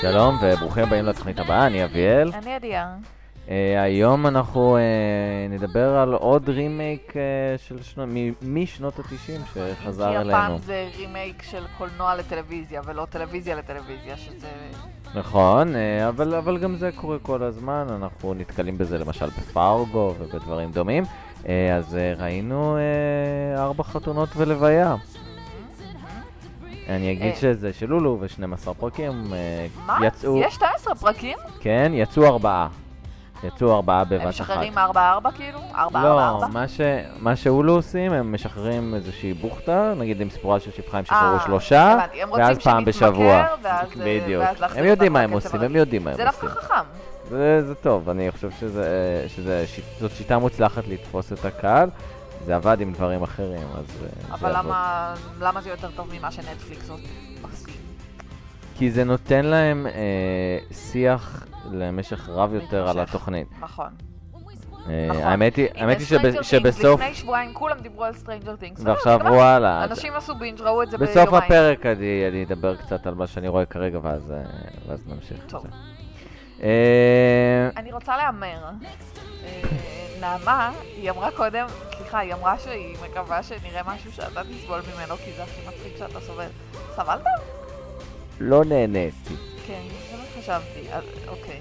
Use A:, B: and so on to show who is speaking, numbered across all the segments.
A: שלום וברוכים הבאים לתוכנית הבאה, אני אביאל.
B: אני אדיאר.
A: אה, היום אנחנו אה, נדבר על עוד רימייק אה, של שנו- מ- משנות ה-90 שחזר
B: כי הפעם
A: אלינו.
B: זה רימייק של קולנוע לטלוויזיה, ולא טלוויזיה לטלוויזיה, שזה...
A: נכון, אה, אבל, אבל גם זה קורה כל הזמן, אנחנו נתקלים בזה למשל בפרגו ובדברים דומים. אה, אז אה, ראינו אה, ארבע חתונות ולוויה. אני אגיד
B: אה.
A: שזה של לולו ו-12 פרקים. אה,
B: מה?
A: יצאו,
B: יש 12 פרקים?
A: כן, יצאו ארבעה. יצאו ארבעה בבת אחת.
B: הם משחררים 4-4 כאילו? 4-4-4?
A: לא, מה, ש... מה שאולו עושים, הם משחררים איזושהי בוכטה, נגיד עם סיפורה של שפחה הם שחררו שלושה,
B: אה, הבנתי, הם רוצים
A: ואז פעם
B: שנתמכר,
A: בשבוע.
B: ואז, אה,
A: בדיוק.
B: ואז להחזיר
A: הם יודעים מה
B: אותנו
A: הם
B: לקצב
A: עושים,
B: הרגיל.
A: הם יודעים מה הם
B: זה לא נכון. דווקא
A: עושים.
B: חכם.
A: זה, זה טוב, אני חושב שזה, אה, שזה, ש- זאת שיטה מוצלחת לתפוס את הקהל. זה עבד עם דברים אחרים, אז אה, זה
B: אבל
A: יעבוד.
B: למה- למה זה יותר טוב ממה שנטפליקס עושים?
A: כי זה נותן להם אה, שיח למשך רב יותר על
B: מתמשך.
A: התוכנית.
B: נכון.
A: אה,
B: נכון.
A: האמת היא, האמת היא
B: הנה,
A: שבס-
B: Stranger Things,
A: שבסוף,
B: לפני שבועיים כולם דיברו על סטרנג'ר טינגס.
A: ועכשיו וואלה, אז-
B: אנשים עשו בינג', ראו את זה ביומיים.
A: בסוף הפרק אני, אני אדבר קצת על מה שאני רואה כרגע, ואז, אה, ואז נמשיך.
B: טוב.
A: אה,
B: אני רוצה להמר. אה, נעמה, היא אמרה קודם, סליחה, היא אמרה שהיא מקווה שנראה משהו שאתה תסבול ממנו, כי זה הכי מצחיק שאתה סובל. סבלת?
A: לא נהניתי.
B: כן, זה מה שחשבתי. אז, אוקיי.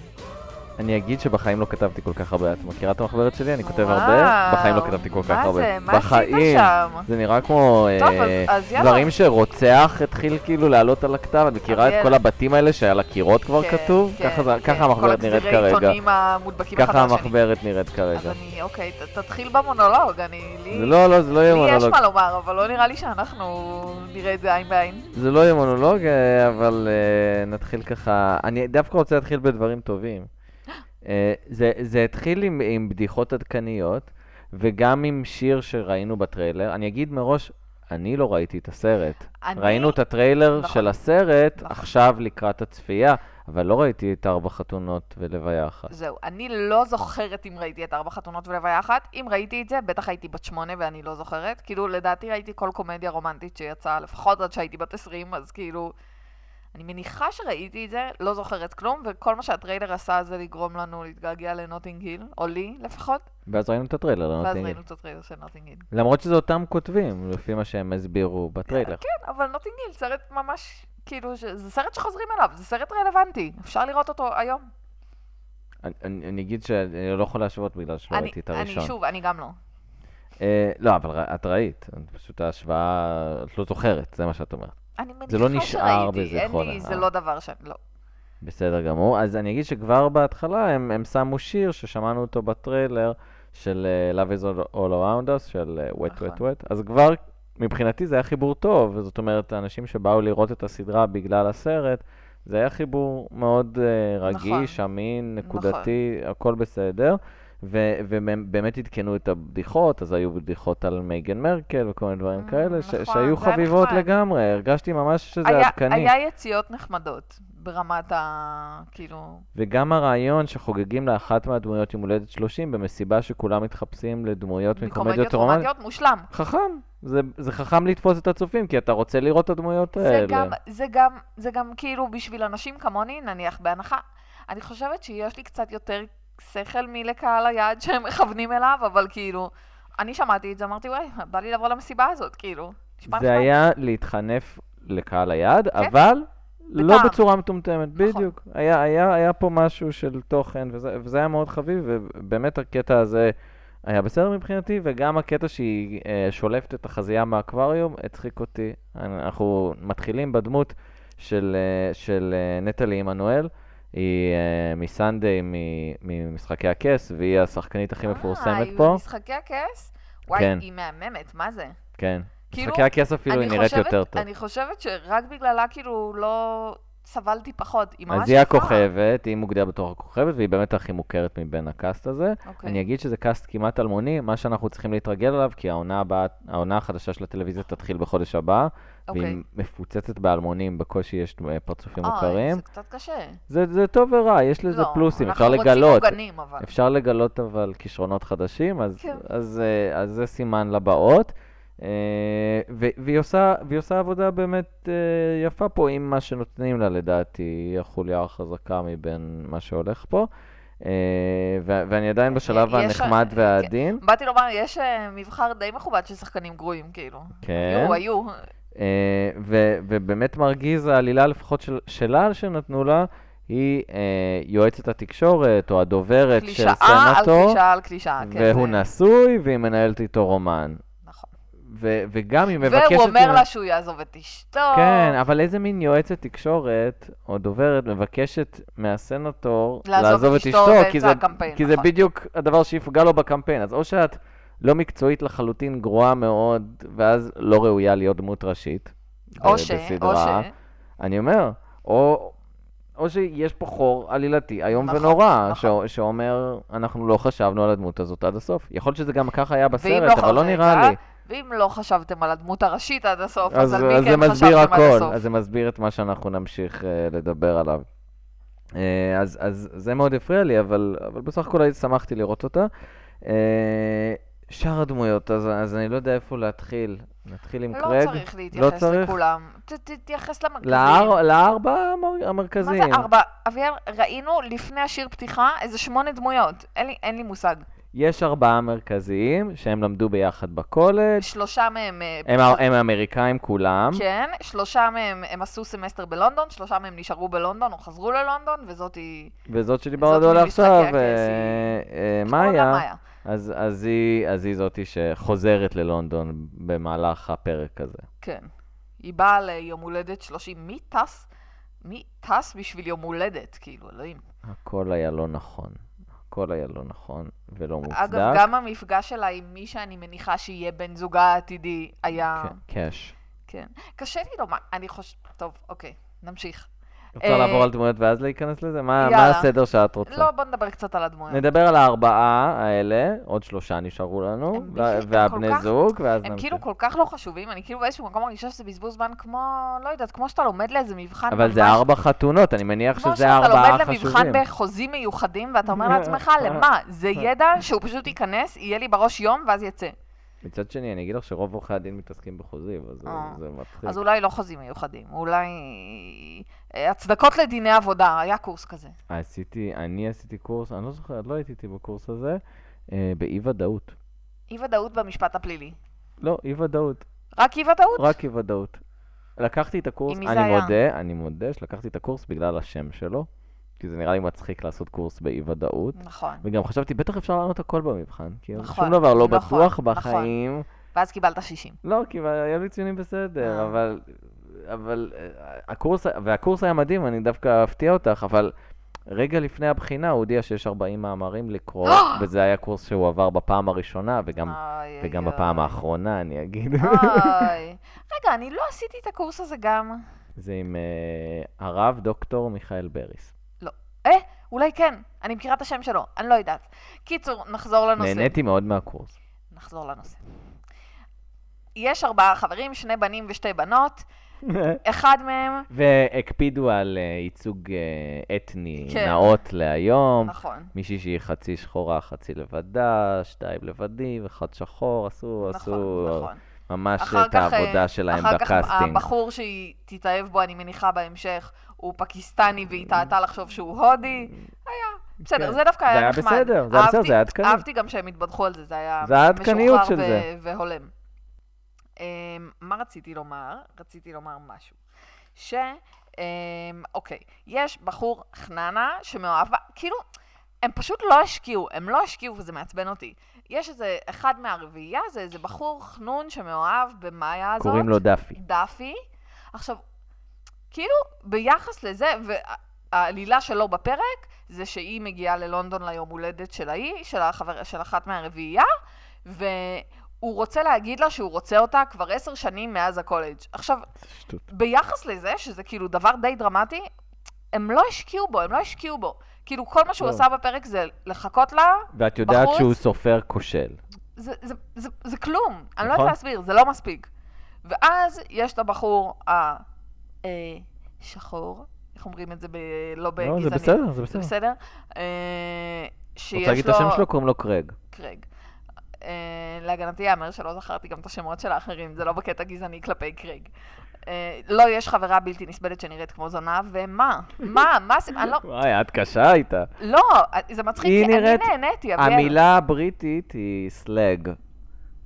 A: אני אגיד שבחיים לא כתבתי כל כך הרבה. את מכירה את המחברת שלי? אני כותב הרבה,
B: וואו,
A: בחיים לא כתבתי כל כך הרבה.
B: מה זה? מה עשית
A: בחיים.
B: שם?
A: זה נראה כמו
B: טוב,
A: אה,
B: אז- אז יאללה.
A: דברים שרוצח התחיל כאילו לעלות על הכתב, את מכירה את
B: אריאל.
A: כל הבתים האלה שהיה על הקירות כבר
B: כן,
A: כתוב?
B: כן,
A: ככה זה-
B: כן.
A: ככה המחברת נראית
B: כל
A: כרגע.
B: הגזירי עיתונים המודבקים אחד
A: ככה
B: על השני.
A: המחברת נראית
B: אז
A: כרגע.
B: אני, אוקיי, ת- תתחיל במונולוג, אני, לי...
A: זה לא, לא, זה לא יהיה
B: לי יש
A: מונולוג.
B: מה לומר, אבל לא נראה לי שאנחנו נראה את זה עין בעין.
A: זה לא יהיה מונולוג, אה, אבל אה, נתחיל ככה... אני דווקא רוצה להתחיל בדברים טובים. אה, זה, זה התחיל עם, עם בדיחות עדכניות, וגם עם שיר שראינו בטריילר. אני אגיד מראש, אני לא ראיתי את הסרט.
B: אני-
A: ראינו את הטריילר
B: נכון.
A: של הסרט
B: נכון.
A: עכשיו לקראת הצפייה, אבל לא ראיתי את ארבע חתונות ולוויה אחת.
B: זהו, אני לא זוכרת אם ראיתי את ארבע חתונות ולוויה אחת. אם ראיתי את זה, בטח הייתי בת שמונה ואני לא זוכרת. כאילו, לדעתי ראיתי כל קומדיה רומנטית שיצאה, לפחות עד שהייתי בת עשרים, אז כאילו... אני מניחה שראיתי את זה, לא זוכרת כלום, וכל מה שהטריילר עשה זה לגרום לנו להתגעגע לנוטינג היל, או לי לפחות,
A: ואז ראינו את הטריילר, לא
B: ואז
A: נותנים.
B: ראינו את הטריילר של נוטינג היל.
A: למרות שזה אותם כותבים, לפי מה שהם הסבירו בטריילר.
B: כן, אבל נוטינג היל סרט ממש, כאילו, ש... זה סרט שחוזרים אליו, זה סרט רלוונטי, אפשר לראות אותו היום.
A: אני, אני, אני אגיד שאני לא יכול להשוות בגלל שלא
B: אני,
A: ראיתי את
B: אני,
A: הראשון.
B: שוב, אני גם לא.
A: אה, לא, אבל ר- את ראית, את פשוט ההשוואה, את לא זוכרת, זה מה שאת אומרת.
B: אני
A: זה לא
B: מניחה
A: נשאר
B: שראיתי, אין
A: בזיכרון,
B: לי, זה
A: אה.
B: לא דבר שאני, לא.
A: בסדר גמור. אז אני אגיד שכבר בהתחלה הם, הם שמו שיר ששמענו אותו בטריילר של אה, Love is all, all around us, של אה, wet
B: נכון.
A: wet wet, אז כבר מבחינתי זה היה חיבור טוב, זאת אומרת, האנשים שבאו לראות את הסדרה בגלל הסרט, זה היה חיבור מאוד אה, רגיש,
B: נכון.
A: אמין, נקודתי, הכל בסדר. ו- והם באמת עדכנו את הבדיחות, אז היו בדיחות על מייגן מרקל וכל מיני דברים
B: Mm,
A: כאלה, ש-
B: נכון,
A: שהיו
B: זה היה
A: חביבות
B: נחמד.
A: לגמרי, הרגשתי ממש שזה
B: היה-
A: עדכני.
B: היה יציאות נחמדות ברמת ה... כאילו...
A: וגם הרעיון שחוגגים לאחת מהדמויות יום הולדת 30 במסיבה שכולם מתחפשים לדמויות מקומדיות רומנטיות.
B: מושלם.
A: חכם, זה, זה חכם לתפוס את הצופים, כי אתה רוצה לראות את הדמויות
B: זה
A: האלה.
B: גם, זה, גם, זה גם כאילו בשביל אנשים כמוני, נניח בהנחה, אני חושבת שיש לי קצת יותר שכל מלקהל היעד שהם מכוונים אליו, אבל כאילו, אני שמעתי את זה, אמרתי, וואי, בא לי לבוא למסיבה הזאת, כאילו. נשמע
A: זה
B: נחמד."
A: היה להתחנף לקהל היעד, אבל לא
B: כן. בטעם.
A: בצורה מטומטמת,
B: נכון.
A: בדיוק. היה, היה, היה פה משהו של תוכן, וזה, וזה היה מאוד חביב, ובאמת הקטע הזה היה בסדר מבחינתי, וגם הקטע שהיא אה, שולפת את החזייה מהאקווריום, הצחיק אותי. אנחנו מתחילים בדמות של, אה, של אה, נטלי עמנואל. היא אה, מסנדיי, מ- ממשחקי הכס, והיא השחקנית הכי מפורסמת
B: אה,
A: פה.
B: משחקי הכס? וואי,
A: כן.
B: היא מהממת, מה זה?
A: כן.
B: כאילו,
A: משחקי הכס אפילו
B: אני
A: היא נראית
B: חושבת-
A: יותר טוב.
B: אני חושבת שרק בגללה, כאילו, לא סבלתי פחות. היא ממש
A: אז היא
B: יפה.
A: הכוכבת, היא מוגדרת בתור הכוכבת, והיא באמת הכי מוכרת מבין הקאסט הזה.
B: אוקיי.
A: אני אגיד שזה קאסט כמעט אלמוני, מה שאנחנו צריכים להתרגל אליו, כי העונה הבאה, העונה החדשה של הטלוויזיה תתחיל בחודש הבא, והיא
B: אוקיי.
A: מפוצצת באלמונים, בקושי יש אה, פרצופים
B: אוי,
A: מוכרים.
B: זה קצת קשה.
A: זה זה טוב ורע, יש לזה
B: לא,
A: פלוסים, אפשר
B: אנחנו
A: לגלות.
B: רוצים עוגנים, אבל.
A: אפשר לגלות אבל כישרונות חדשים, אז,
B: כן.
A: אז, אה, אז זה סימן לבאות. אה, ו- והיא עושה, והיא עושה עבודה באמת אה, יפה פה עם מה שנותנים לה, לדעתי, היא החוליה החזקה מבין מה שהולך פה. אה, ו- ואני עדיין בשלב
B: יש-
A: הנחמד
B: כן.
A: והעדין.
B: באתי לומר, יש אה, מבחר די מכובד של שחקנים גרועים, כאילו.
A: כן.
B: היו, היו.
A: אה, ו- ובאמת מרגיז העלילה לפחות של- שלה שנתנו לה, היא אה, יועצת התקשורת או הדוברת של
B: קלישאה על
A: סנטור,
B: קלישאה על קלישאה. כן,
A: והוא
B: זה-
A: נשוי והיא מנהלת איתו רומן.
B: נכון.
A: ו- וגם היא מבקשת...
B: והוא אומר
A: ממנו-
B: לה שהוא יעזוב את אשתו.
A: כן, אבל איזה מין יועצת תקשורת או דוברת מבקשת מהסנטור
B: לעזוב
A: לעזוב
B: את
A: את
B: אשתו
A: אשתו,
B: באמצע
A: כי זה-
B: הקמפיין,
A: כי זה
B: נכון.
A: בדיוק הדבר שיפגע לו בקמפיין. אז או שאת לא מקצועית לחלוטין, גרועה מאוד, ואז לא ראויה להיות דמות ראשית.
B: או
A: אה,
B: ש... או ש...
A: בסדרה. אני אומר, או... או שיש פה חור עלילתי איום
B: נכון,
A: ונורא,
B: נכון.
A: ש- שאומר, אנחנו לא חשבנו על הדמות הזאת עד הסוף. יכול להיות שזה גם ככה היה
B: ואם
A: בסרט, אבל לא
B: חשבת-
A: נראה לי.
B: ואם לא חשבתם על הדמות הראשית עד הסוף, אז
A: אז,
B: על מי
A: אז זה
B: כן
A: מסביר
B: חשבתם עד
A: הכל,
B: הסוף?
A: אז זה מסביר את מה שאנחנו נמשיך uh, לדבר עליו. Uh, אז, אז זה מאוד הפריע לי, אבל, אבל בסך הכל הייתי שמחתי לראות אותה. Uh, שאר הדמויות, אז, אז אני לא יודע איפה להתחיל. נתחיל עם
B: לא
A: קרג.
B: צריך
A: לא
B: להתייחס
A: צריך?
B: לכולם. ת- תתייחס למרכזים.
A: לאר- לארבע המר-
B: מה
A: המרכזיים.
B: זה ארבע? אביאל, ראינו לפני השיר פתיחה איזה שמונה דמויות. אין לי- אין לי מושג.
A: יש ארבעה מרכזיים שהם למדו ביחד בקולג'.
B: שלושה מהם... אה,
A: הם,
B: פשוט-
A: הם אמריקאים כולם.
B: כן, שלושה מהם הם עשו סמסטר בלונדון, שלושה מהם נשארו בלונדון או חזרו ללונדון, וזאת היא...
A: וזאת
B: וזאת
A: שדיברנו עליה
B: ממשחקי
A: עכשיו,
B: הכס,
A: אה,
B: היא-
A: אה,
B: קוראים לה
A: מאיה.
B: מאיה.
A: אז, אז, היא, אז היא זאתי שחוזרת ללונדון במהלך הפרק הזה.
B: כן. היא באה ליום הולדת 30. מי טס? מי טס בשביל יום הולדת? כאילו, אלוהים.
A: הכל היה לא נכון. הכל היה לא נכון ולא מוצדק.
B: אגב, גם המפגש שלה עם מי שאני מניחה שיהיה בן זוגה העתידי היה...
A: כן, קאש.
B: כן. קשה לי לומר, אני חושבת... טוב, אוקיי, נמשיך.
A: רוצה לעבור על דמויות ואז להיכנס לזה? מה, מה
B: אה, יאללה.
A: הסדר שאת רוצה?
B: לא, בוא נדבר קצת על הדמויות.
A: נדבר על הארבעה האלה, עוד שלושה נשארו לנו,
B: הם
A: ו-
B: בשביל- הם
A: והבני
B: כל כך-
A: זוג, ואז
B: הם
A: נמשיך.
B: כאילו כל כך לא חשובים, אני כאילו באיזשהו מקום מרגישה שזה בזבוז זמן כמו, לא יודעת, כמו שאתה לומד לאיזה מבחן
A: אבל
B: ממש
A: זה ארבע חתונות, אני מניח
B: כמו
A: שזה
B: שאתה
A: הארבעה
B: לומד
A: החשובים.
B: למבחן בחוזים מיוחדים, ואתה
A: אה,
B: אומר לעצמך, למה? זה ידע שהוא פשוט ייכנס, יהיה לי בראש יום, ואז יצא.
A: מצד שני, אני אגיד לך שרוב עורכי הדין מתעסקים בחוזים, אז זה-
B: אה.
A: זה מצחיק.
B: אז אולי לא חוזים מיוחדים, אולי... אה, הצדקות לדיני עבודה, היה קורס כזה.
A: עשיתי, אני עשיתי קורס, אני לא זוכר, את לא הייתי איתי בקורס הזה, אה, באי-ודאות.
B: אי-ודאות במשפט הפלילי.
A: לא, אי-ודאות,
B: רק אי-ודאות?
A: רק אי-ודאות. לקחתי את הקורס,
B: עם מי זה
A: אני
B: היה?
A: מודה, אני מודה שלקחתי את הקורס בגלל השם שלו, כי זה נראה לי מצחיק לעשות קורס באי-ודאות.
B: נכון.
A: וגם חשבתי, בטח אפשר לענות הכל במבחן, כי
B: נכון,
A: שום דבר לא
B: נכון,
A: בטוח
B: נכון.
A: בחיים.
B: ואז קיבלת 60.
A: לא, כי היה לי ציונים בסדר,
B: אה.
A: אבל... אבל אה, הקורס, והקורס היה מדהים, אני דווקא אפתיע אותך, אבל רגע לפני הבחינה הוא הודיע שיש 40 מאמרים לקרוא,
B: אה!
A: וזה היה קורס שהוא עבר בפעם הראשונה, וגם,
B: אוי,
A: וגם
B: אוי,
A: בפעם
B: אוי.
A: האחרונה, אני אגיד.
B: אה! אוי. רגע, אני לא עשיתי את הקורס הזה גם.
A: זה עם אה, הרב דוקטור מיכאל בריס.
B: אולי כן, אני מכירה את השם שלו, אני לא יודעת. קיצור, נחזור לנושא.
A: נהניתי מאוד מהקורס.
B: נחזור לנושא. יש ארבעה חברים, שני בנים ושתי בנות. אחד מהם,
A: והקפידו על אה, ייצוג אה, אתני
B: כן.
A: נאות להיום.
B: נכון,
A: מישהי שהיא חצי שחורה, חצי לבדה, שתיים לבדים, אחד שחור, עשו,
B: נכון,
A: לא עשו
B: נכון.
A: ממש
B: אחר
A: את
B: כך, אה,
A: העבודה שלהם
B: אחר כך
A: בקאסטינג.
B: הבחור שהיא תתאהב בו, אני מניחה בהמשך, הוא פקיסטני והיא טעתה לחשוב שהוא הודי. בסדר,
A: כן.
B: זה דווקא
A: זה
B: היה
A: היה
B: נחמד.
A: בסדר, זה היה בסדר,
B: אהבתי-
A: זה היה עדכני.
B: אהבתי גם שהם התבדחו על זה, זה היה
A: זה העדכניות
B: משוחרר
A: של
B: ו-
A: זה.
B: והולם. אמ, מה רציתי לומר? רציתי לומר משהו. ש... אמ, אוקיי, יש בחור חננה שמאוהב, ב- כאילו, הם פשוט לא השקיעו, הם לא השקיעו וזה מעצבן אותי. יש איזה אחד מהרביעייה, זה איזה בחור חנון שמאוהב במאיה הזאת.
A: קוראים לו דאפי.
B: דאפי. עכשיו, כאילו, ביחס לזה, והעלילה שלו בפרק, זה שהיא מגיעה ללונדון ליום הולדת של ההיא, של, החבר, של אחת מהרביעייה, והוא רוצה להגיד לה שהוא רוצה אותה כבר עשר שנים מאז הקולג'. עכשיו,
A: זה שטות.
B: ביחס לזה, שזה כאילו דבר די דרמטי, הם לא השקיעו בו, הם לא השקיעו בו. כאילו, כל מה שהוא
A: לא.
B: עשה בפרק זה לחכות לה,
A: ואת יודעת
B: בחוץ?
A: שהוא סופר כושל.
B: זה, זה, זה, זה כלום. אני לא
A: נכון.
B: יודעת להסביר, זה לא מספיק. ואז יש את הבחור השחור, איך אומרים את זה ב... לא
A: לא,
B: בגזעני.
A: זה בסדר, זה בסדר.
B: זה בסדר? אה, שיש לא.
A: רוצה להגיד את השם שלו? קוראים לו קרג.
B: קרג. אה, להגנתי ייאמר שלא זכרתי גם את השמות של האחרים, זה לא בקטע גזעני כלפי קרייג. אה, לא, יש חברה בלתי נסבלת שנראית כמו זונה, ומה? מה? מה זה? אני לא...
A: וואי, את קשה הייתה.
B: לא, זה מצחיק,
A: היא
B: כי אני
A: נראית-
B: נהניתי, אביאל.
A: המילה הבריטית היא סלאג.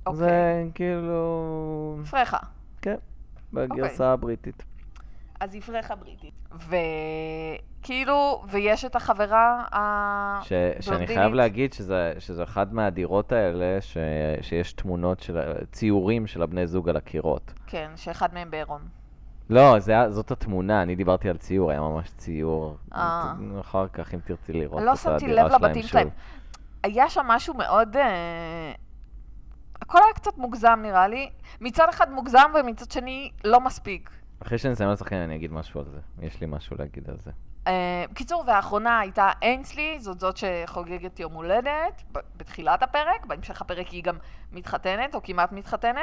B: אוקיי.
A: זה כאילו...
B: פרחה.
A: כן, בגרסה הבריטית.
B: אז היא פרחה בריטית. וכאילו, ויש את החברה ה...
A: ש, שאני חייב
B: בלונדינית.
A: להגיד שזה, שזה אחת מהדירות האלה ש, שיש תמונות של, ה- ציורים של הבני זוג על הקירות.
B: כן, שאחד מהם בעירום.
A: לא, זה, היה- זאת התמונה, אני דיברתי על ציור, היה ממש ציור.
B: אה.
A: אחר כך, אם תרצי לראות
B: לא
A: את
B: שמתי
A: הדירה
B: לב
A: שלהם
B: לבתים
A: שוב.
B: שלהם. היה שם משהו מאוד... אה, הכל היה קצת מוגזם נראה לי. מצד אחד מוגזם ומצד שני לא מספיק.
A: אחרי שנסיים לשחקן אני אגיד משהו על זה. יש לי משהו להגיד על זה.
B: אה, בקיצור, והאחרונה הייתה אינסלי, זאת זאת שחוגגת יום הולדת ב- בתחילת הפרק, בהמשך הפרק היא גם מתחתנת, או כמעט מתחתנת.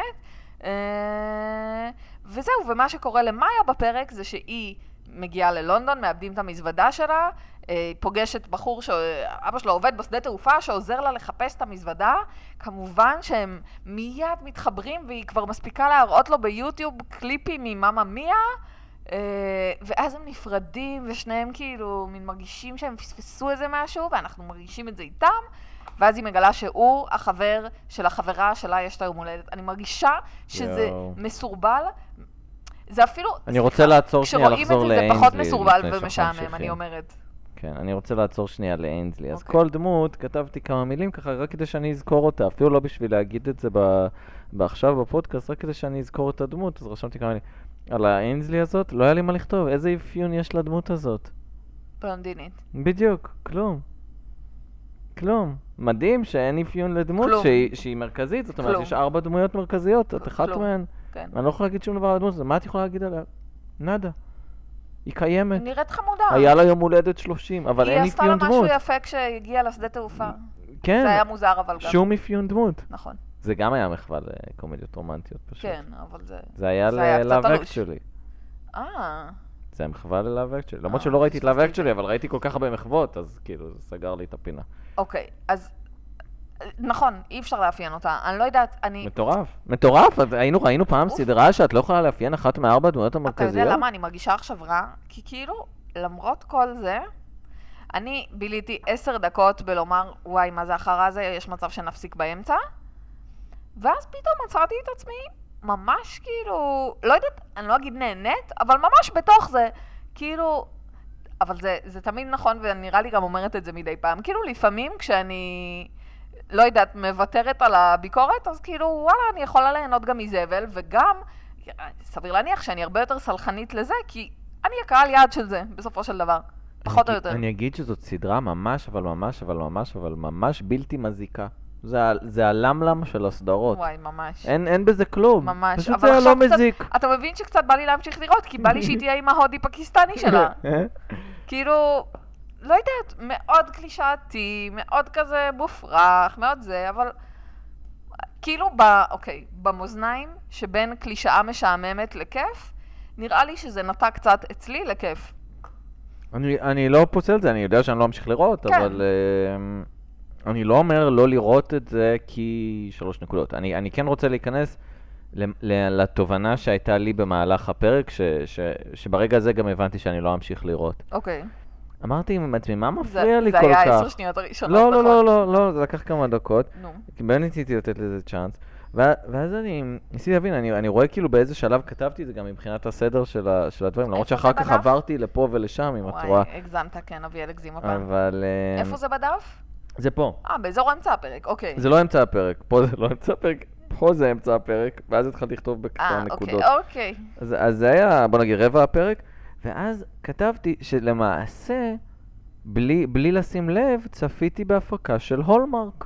B: אה, וזהו, ומה שקורה למאיה בפרק זה שהיא מגיעה ללונדון, מאבדים את המזוודה שלה, אה, היא פוגשת בחור שאבא שלו עובד בשדה תעופה, שעוזר לה לחפש את המזוודה. כמובן שהם מיד מתחברים, והיא כבר מספיקה להראות לו ביוטיוב קליפים ממאמא מיה. אה, ואז הם נפרדים, ושניהם כאילו מין מרגישים שהם פספסו איזה משהו, ואנחנו מרגישים את זה איתם, ואז היא מגלה שהוא החבר של החברה שלה יש את היום הולדת. אני מרגישה שזה
A: יואו.
B: מסורבל. זה אפילו...
A: אני רוצה לעצור שנייה,
B: כשרואים את
A: לחזור
B: זה, זה
A: לאיינזלי.
B: פחות מסורבל
A: לפני שאנחנו
B: ומשעמם, אני
A: ממשיכים.
B: אומרת.
A: כן, אני רוצה לעצור שנייה לאיינזלי. אז
B: אוקיי.
A: כל דמות, כתבתי כמה מילים ככה, רק כדי שאני אזכור אותה, אפילו לא בשביל להגיד את זה ב- עכשיו בפודקאסט, רק כדי שאני אזכור את הדמות, אז רשמתי כמה מילים. על האיינזלי הזאת, לא היה לי מה לכתוב, איזה אפיון יש לדמות הזאת?
B: בלונדינית.
A: בדיוק, כלום. כלום. מדהים שאין אפיון לדמות
B: כלום.
A: שהיא, שהיא מרכזית, זאת אומרת,
B: כלום.
A: יש ארבע דמויות מרכזיות, את אחת
B: כלום.
A: מהן.
B: כן.
A: אני לא יכול להגיד שום דבר על הדמות הזאת, מה את יכולה להגיד עליה? נאדה. היא קיימת.
B: היא נראית חמודה.
A: היה לה יום הולדת 30, אבל אין
B: לא- היא עשתה לה
A: אפיון
B: משהו
A: דמות.
B: יפה כשהגיעה לשדה תעופה. זה
A: כן,
B: היה מוזר אבל גם.
A: שום אפיון דמות.
B: נכון.
A: זה גם היה מחווה לקומדיות רומנטיות פשוט.
B: כן, אבל זה...
A: זה היה
B: זה היה קצת
A: ל-Love
B: תלוש.
A: Actually.
B: אה,
A: זה היה מחווה ל-Love Actually. למרות
B: אה,
A: שלא ראיתי את
B: פספסתי
A: Love
B: את
A: Actually, אבל ראיתי כל כך הרבה מחוות, אז כאילו, זה סגר לי את הפינה.
B: אוקיי. אז... נכון, אי אפשר לאפיין אותה. אני לא יודעת, אני...
A: מטורף. מטורף, אז היינו, ראינו פעם
B: טירוף.
A: סדרה שאת לא יכולה לאפיין אחת מארבע הדמויות
B: אתה
A: המרכזיות?
B: יודע למה אני מרגישה עכשיו רע? כי כאילו, למרות כל זה, אני ביליתי עשר דקות בלומר, וואי, מה זה החרא הזה, יש מצב שנפסיק באמצע, ואז פתאום מצאתי את עצמי ממש כאילו, לא יודעת, אני לא אגיד נהנית, אבל ממש בתוך זה, כאילו, אבל זה, זה תמיד נכון, ונראה לי גם אומרת את זה מדי פעם, כאילו לפעמים כשאני... לא יודעת, מוותרת על הביקורת, אז כאילו, וואלה, אני יכולה ליהנות גם מזבל, וגם סביר להניח שאני הרבה יותר סלחנית לזה, כי אני הקהל יעד של זה, בסופו של דבר. פחות או
A: אני-
B: יותר.
A: אני אגיד שזאת סדרה ממש, אבל ממש, אבל ממש, אבל ממש בלתי מזיקה. זה ה- זה הלמלם של הסדרות.
B: וואי, ממש.
A: אין אין בזה כלום.
B: ממש,
A: פשוט
B: אבל
A: זה
B: עכשיו
A: לא
B: קצת-
A: מזיק.
B: אתה מבין שקצת בא לי להמשיך לראות, כי בא לי שהיא תהיה עם ההודי-פקיסטני שלה.
A: אה?
B: כאילו, לא יודעת, מאוד קלישאתי, מאוד כזה מופרך, מאוד זה, אבל... כאילו, ב... אוקיי, במאזניים שבין קלישאה משעממת לכיף, נראה לי שזה נטע קצת אצלי לכיף.
A: אני, אני לא פוסל את זה, אני יודע שאני לא אמשיך לראות,
B: כן.
A: אבל uh, אני לא אומר לא לראות את זה כי שלוש נקודות. אני, אני כן רוצה להיכנס ל- ל- לתובנה שהייתה לי במהלך הפרק, ש, ש, שברגע הזה גם הבנתי שאני לא אמשיך לראות.
B: אוקיי.
A: אמרתי עם עצמי, מה
B: זה-
A: מפריע לי כל
B: זה היה
A: כך?
B: עשר שניות הראשונות,
A: לא, לא,
B: נכון?
A: לא, לא, לא, זה לקח כמה דקות.
B: נו.
A: כי באמת ניסיתי לתת לזה צ'אנס. ו- ואז אני ניסיתי להבין, אני, אני רואה כאילו באיזה שלב כתבתי את זה גם מבחינת הסדר של, ה, של הדברים, למרות
B: איפה זה
A: שאחר כך
B: בדף?
A: עברתי לפה ולשם, אם את רואה.
B: וואי, הגזמת, כן, אביאל הגזים הפעם.
A: אבל... אה,
B: איפה זה בדף?
A: זה פה.
B: אה, באזור אמצע הפרק, אוקיי.
A: זה לא אמצע הפרק. פה זה לא אמצע הפרק, פה זה אמצע הפרק, ואז התחלתי לכתוב
B: אה,
A: בקטן
B: אוקיי,
A: נקודות.
B: אוקיי.
A: אז אז זה היה, בוא נגיד, רבע הפרק, ואז כתבתי שלמעשה, בלי בלי לשים לב, צפיתי בהפקה של הולמרק.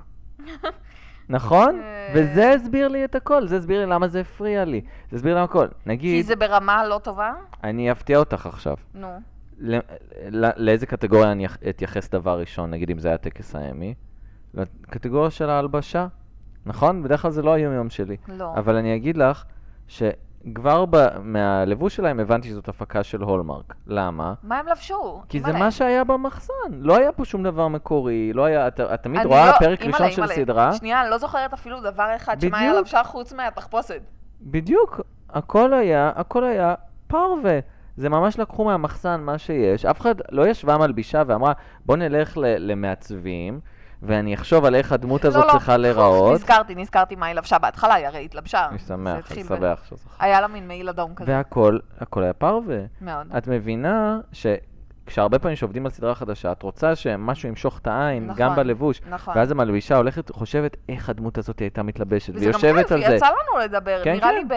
A: נכון?
B: אה.
A: וזה הסביר לי את הכל, זה הסביר לי למה זה הפריע לי. זה הסביר לי הכל.
B: כי
A: נגיד,
B: זה ברמה לא טובה?
A: אני אפתיע אותך עכשיו.
B: נו.
A: ל- ל- לאיזה קטגוריה אני אח- אתייחס דבר ראשון, נגיד אם זה היה טקס הימי? לקטגוריה של ההלבשה, נכון? בדרך כלל זה לא היום-יום שלי.
B: לא.
A: אבל אני אגיד לך, ש- כבר ב- מהלבוש שלהם הבנתי שזאת הפקה של הולמרק. למה?
B: מה הם לבשו?
A: כי זה
B: אימא'לה.
A: מה שהיה במחסן. לא היה פה שום דבר מקורי, לא היה... אתה את תמיד
B: אני
A: רואה
B: לא-
A: פרק
B: אימא'לה,
A: ראשון של
B: אימא'לה.
A: סדרה.
B: שנייה, אני לא זוכרת אפילו דבר אחד שמאיה
A: בדיוק.
B: לבשה חוץ מהתחפושת.
A: בדיוק, הכל היה, הכל היה פרווה. זה ממש לקחו מהמחסן מה שיש. אף אחד לא ישבה מלבישה ואמרה, בוא נלך ל- למעצבים, ואני אחשוב על איך הדמות
B: לא,
A: הזאת צריכה להיראות.
B: נזכרתי, נזכרתי מה היא לבשה בהתחלה, היא הרי התלבשה.
A: אני
B: זה
A: שמח, אני
B: התחיל ב-
A: שמח שזכרת.
B: היה לה מין מעיל אדום כזה.
A: והכל, הכל היה פרווה.
B: מאוד.
A: את מבינה שכשהרבה פעמים שעובדים על סדרה חדשה, את רוצה שמשהו ימשוך את העין, גם
B: נכון.
A: בלבוש.
B: נכון.
A: ואז המלבישה הולכת, חושבת איך הדמות הזאת הייתה מתלבשת,
B: וזה גם
A: ויושבת
B: כיף,
A: על זה.
B: יצא לנו לדבר.
A: כן,
B: נראה
A: כן.
B: לי ב...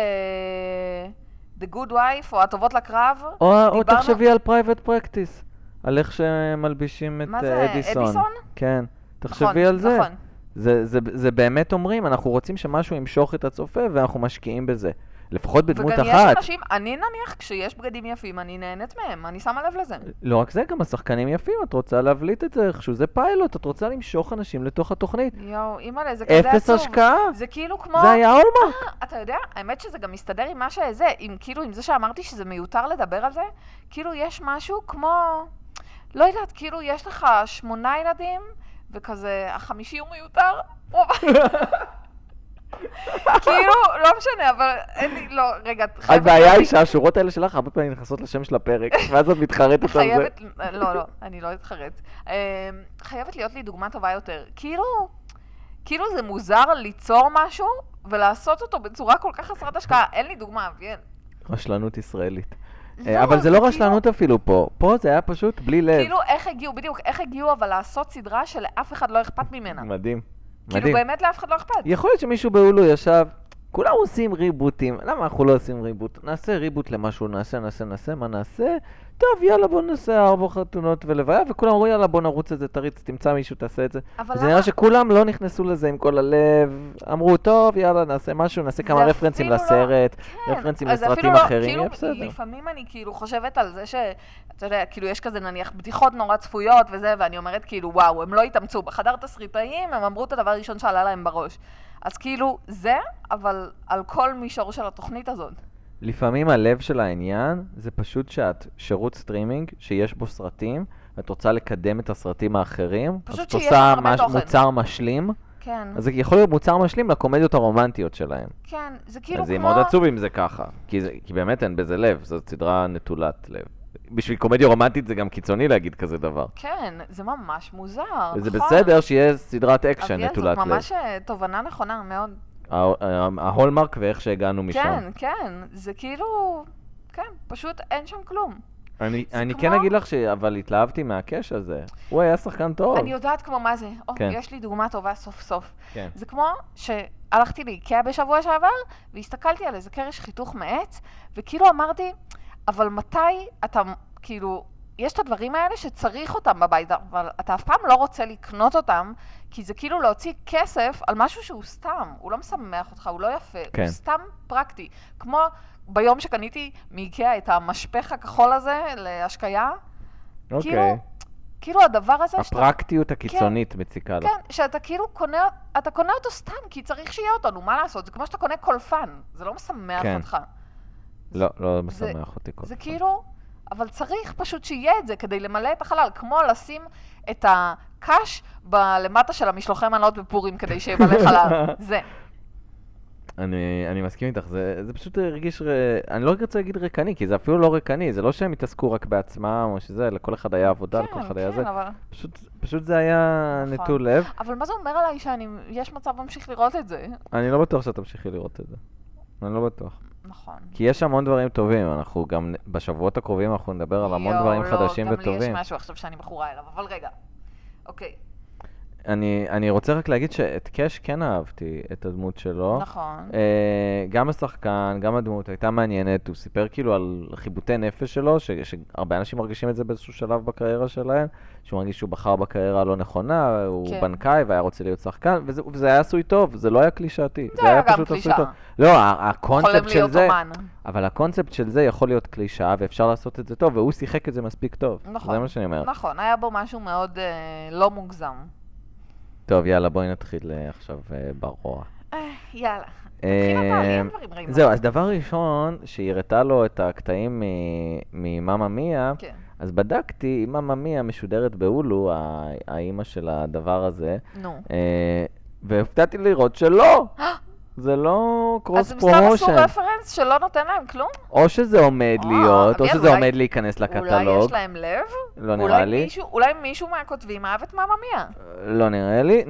B: The Good Wife, או הטובות לקרב.
A: או, או
B: דיברנו-
A: תחשבי על פרייבט פרקטיס, על איך שמלבישים את
B: מה
A: אה,
B: זה,
A: אדיסון.
B: אדיסון?
A: כן, תחשבי
B: נכון,
A: על זה.
B: נכון.
A: זה, זה. זה באמת אומרים, אנחנו רוצים שמשהו ימשוך את הצופה ואנחנו משקיעים בזה. לפחות בדמות
B: וגם
A: אחת.
B: יש אנשים, אני נניח, כשיש בגדים יפים, אני נהנית מהם, אני שמה לב לזה.
A: לא רק זה, גם השחקנים יפים, את רוצה להבליט את זה איכשהו, זה פיילוט, את רוצה למשוך אנשים לתוך התוכנית.
B: יואו, אימא'לה, זה כזה עצוב.
A: אפס השקעה,
B: זה כאילו כמו...
A: זה היה הולמרק.
B: אתה יודע, האמת שזה גם מסתדר עם מה שזה, עם כאילו, עם זה שאמרתי שזה מיותר לדבר על זה, כאילו יש משהו כמו, לא יודעת, כאילו יש לך שמונה ילדים, וכזה, החמישי הוא מיותר, הוא- אוקיי. כאילו, לא משנה, אבל אין לי, לא, רגע, את חייבת...
A: הבעיה היא שהשורות האלה שלך הרבה פעמים נכנסות לשם של הפרק, ואז את מתחרטת על זה.
B: חייבת, לא, לא, אני לא אתחרט. אמ, חייבת להיות לי דוגמה טובה יותר. כאילו, כאילו זה מוזר ליצור משהו ולעשות אותו בצורה כל כך חסרת השקעה. אין לי דוגמה, אביאל.
A: רשלנות ישראלית.
B: לא,
A: אה, אבל זה לא
B: כאילו-
A: רשלנות אפילו פה, פה זה היה פשוט בלי לב.
B: כאילו, איך הגיעו, בדיוק, איך הגיעו אבל לעשות סדרה שלאף אחד לא אכפת ממנה.
A: מדהים,
B: כאילו,
A: מדהים.
B: באמת לאף אחד לא אכפת.
A: יכול להיות שמישהו בהולו ישב, כולם עושים ריבוטים, למה אנחנו לא עושים ריבוט? נעשה ריבוט למשהו, נעשה, נעשה, נעשה, מה נעשה? טוב, יאללה, בוא נעשה ארבע חתונות ולוויה, וכולם אמרו, יאללה, בוא נרוץ את זה, תריץ, תמצא מישהו, תעשה את זה.
B: אבל
A: זה
B: למה-
A: נראה שכולם לא נכנסו לזה עם כל הלב, אמרו, טוב, יאללה, נעשה משהו, נעשה
B: זה
A: כמה רפרנסים
B: אפילו לא-
A: לסרט,
B: כן,
A: רפרנסים
B: אז אפילו
A: לסרטים
B: לא-
A: אחרים,
B: כאילו,
A: יהיה בסדר.
B: לפעמים אני כאילו חושבת על זה ש... אתה יודע, כאילו יש כזה נניח בדיחות נורא צפויות וזה, ואני אומרת כאילו, וואו, הם לא התאמצו. בחדר תסריטאים הם אמרו את הדבר הראשון שעלה להם בראש. אז כאילו, זה, אבל על כל מישור של התוכנית הזאת.
A: לפעמים הלב של העניין זה פשוט שאת שירות סטרימינג שיש בו סרטים, ואת רוצה לקדם את הסרטים האחרים, אז
B: פשוט
A: את
B: שיש
A: עושה
B: הרבה
A: מש-
B: תוכן.
A: מוצר משלים,
B: כן,
A: אז זה יכול להיות מוצר משלים לקומדיות הרומנטיות שלהם.
B: כן, זה כאילו
A: אז זה
B: כמו...
A: מאוד עצוב אם זה ככה, כי זה- כי באמת אין בזה לב, זאת סדרה נטולת לב. בשביל קומדיה רומנטית זה גם קיצוני להגיד כזה דבר.
B: כן, זה ממש מוזר,
A: וזה
B: נכון.
A: בסדר שיהיה סדרת אקשן
B: אביאל,
A: נטולת
B: זאת
A: לב.
B: ממש אה, תובנה נכונה מאוד.
A: ה- ה- ההולמרק ואיך שהגענו משם.
B: כן, כן, זה כאילו... כן, פשוט אין שם כלום.
A: אני
B: זה
A: אני
B: כמו-
A: כן אגיד לך ש... אבל התלהבתי מהקש הזה. הוא היה שחקן טוב.
B: אני יודעת כמו מה זה. או,
A: כן.
B: יש לי דוגמה טובה סוף סוף.
A: כן.
B: זה כמו שהלכתי לאיקאה בשבוע שעבר, והסתכלתי על איזה קרש חיתוך מעץ, וכאילו אמרתי, אבל מתי אתה, כאילו, יש את הדברים האלה שצריך אותם בבית, אבל אתה אף פעם לא רוצה לקנות אותם, כי זה כאילו להוציא כסף על משהו שהוא סתם, הוא לא משמח אותך, הוא לא יפה,
A: כן.
B: הוא סתם פרקטי. כמו ביום שקניתי מאיקאה את המשפך הכחול הזה להשקיה,
A: אוקיי.
B: כאילו, כאילו הדבר הזה שאתה
A: הפרקטיות הקיצונית מציקה לך.
B: כן, שאתה כאילו קונה, אתה קונה אותו סתם, כי צריך שיהיה אותו, נו, מה לעשות? זה כמו שאתה קונה קולפן, זה לא משמח
A: כן.
B: אותך.
A: לא, לא
B: זה-
A: משמח אותי כל
B: זה
A: כך.
B: כאילו, אבל צריך פשוט שיהיה את זה כדי למלא את החלל, כמו לשים את הקש בלמטה של המשלוחי מנות בפורים כדי שימלא חלל. זה.
A: אני, אני מסכים איתך, זה, זה פשוט הרגיש, ר... אני לא רוצה להגיד ריקני, כי זה אפילו לא ריקני, זה לא שהם התעסקו רק בעצמם או שזה, לכל אחד היה עבודה, לכל אחד היה
B: כן,
A: זה.
B: כן, אבל...
A: פשוט, פשוט זה היה
B: נכון.
A: נטול לב.
B: אבל מה זה אומר עליי שאני, יש מצב להמשיך לראות את זה?
A: אני לא בטוח שאת תמשיכי לראות את זה. אני לא בטוח.
B: נכון.
A: כי יש המון דברים טובים, אנחנו גם, נ- בשבועות הקרובים אנחנו נדבר על המון
B: יואו,
A: דברים
B: לא,
A: חדשים
B: גם לי יש
A: וטובים.
B: משהו עכשיו שאני מכורה אליו, אבל רגע. אוקיי,
A: אני, אני רוצה רק להגיד שאת קאש כן אהבתי, את הדמות שלו.
B: נכון.
A: לא? אה, גם השחקן, גם הדמות הייתה מעניינת, הוא סיפר כאילו על חיבוטי נפש שלו, ש- שהרבה אנשים מרגישים את זה באיזשהו שלב בקריירה שלהם, שהוא מרגיש שהוא בחר בקריירה הלא נכונה, הוא
B: כן.
A: בנקאי והיה רוצה להיות שחקן, וזה, וזה היה עשוי טוב, זה לא היה קלישאתי,
B: זה היה גם
A: פשוט עשוי
B: קלישאה.
A: טוב. לא, ה- הקונספט
B: חולם
A: של
B: להיות
A: זה,
B: אומן.
A: אבל הקונספט של זה יכול להיות קלישאה ואפשר לעשות את זה טוב, והוא שיחק את זה מספיק טוב.
B: נכון.
A: זה מה שאני אומר.
B: נכון, היה בו משהו מאוד אה, לא מוגזם.
A: טוב, יאללה, בואי נתחיל אה, עכשיו אה, ברוע.
B: יאללה. תתחיל אתה, לי אין דברים רעים.
A: אה, זהו, אז דבר ראשון, שהיא הראתה לו את הקטעים ממאמא מיה,
B: כן,
A: אז בדקתי, מאמא מיה משודרת בהולו, ה- האימא של הדבר הזה,
B: נו.
A: אה, והופתעתי לראות שלא! זה לא
B: אז
A: קרוס
B: הם סתם עשו
A: פרומושן.
B: רפרנס שלא נותן להם כלום?
A: או שזה עומד
B: אה,
A: להיות, או
B: אביעד,
A: שזה
B: אולי-
A: עומד להיכנס
B: אולי יש
A: לקטלוג,
B: להם לב?
A: לא
B: אולי
A: נראה לי.
B: מישהו- אולי מישהו מהכותבים אהב את מאמא מיה.
A: לא נראה לי.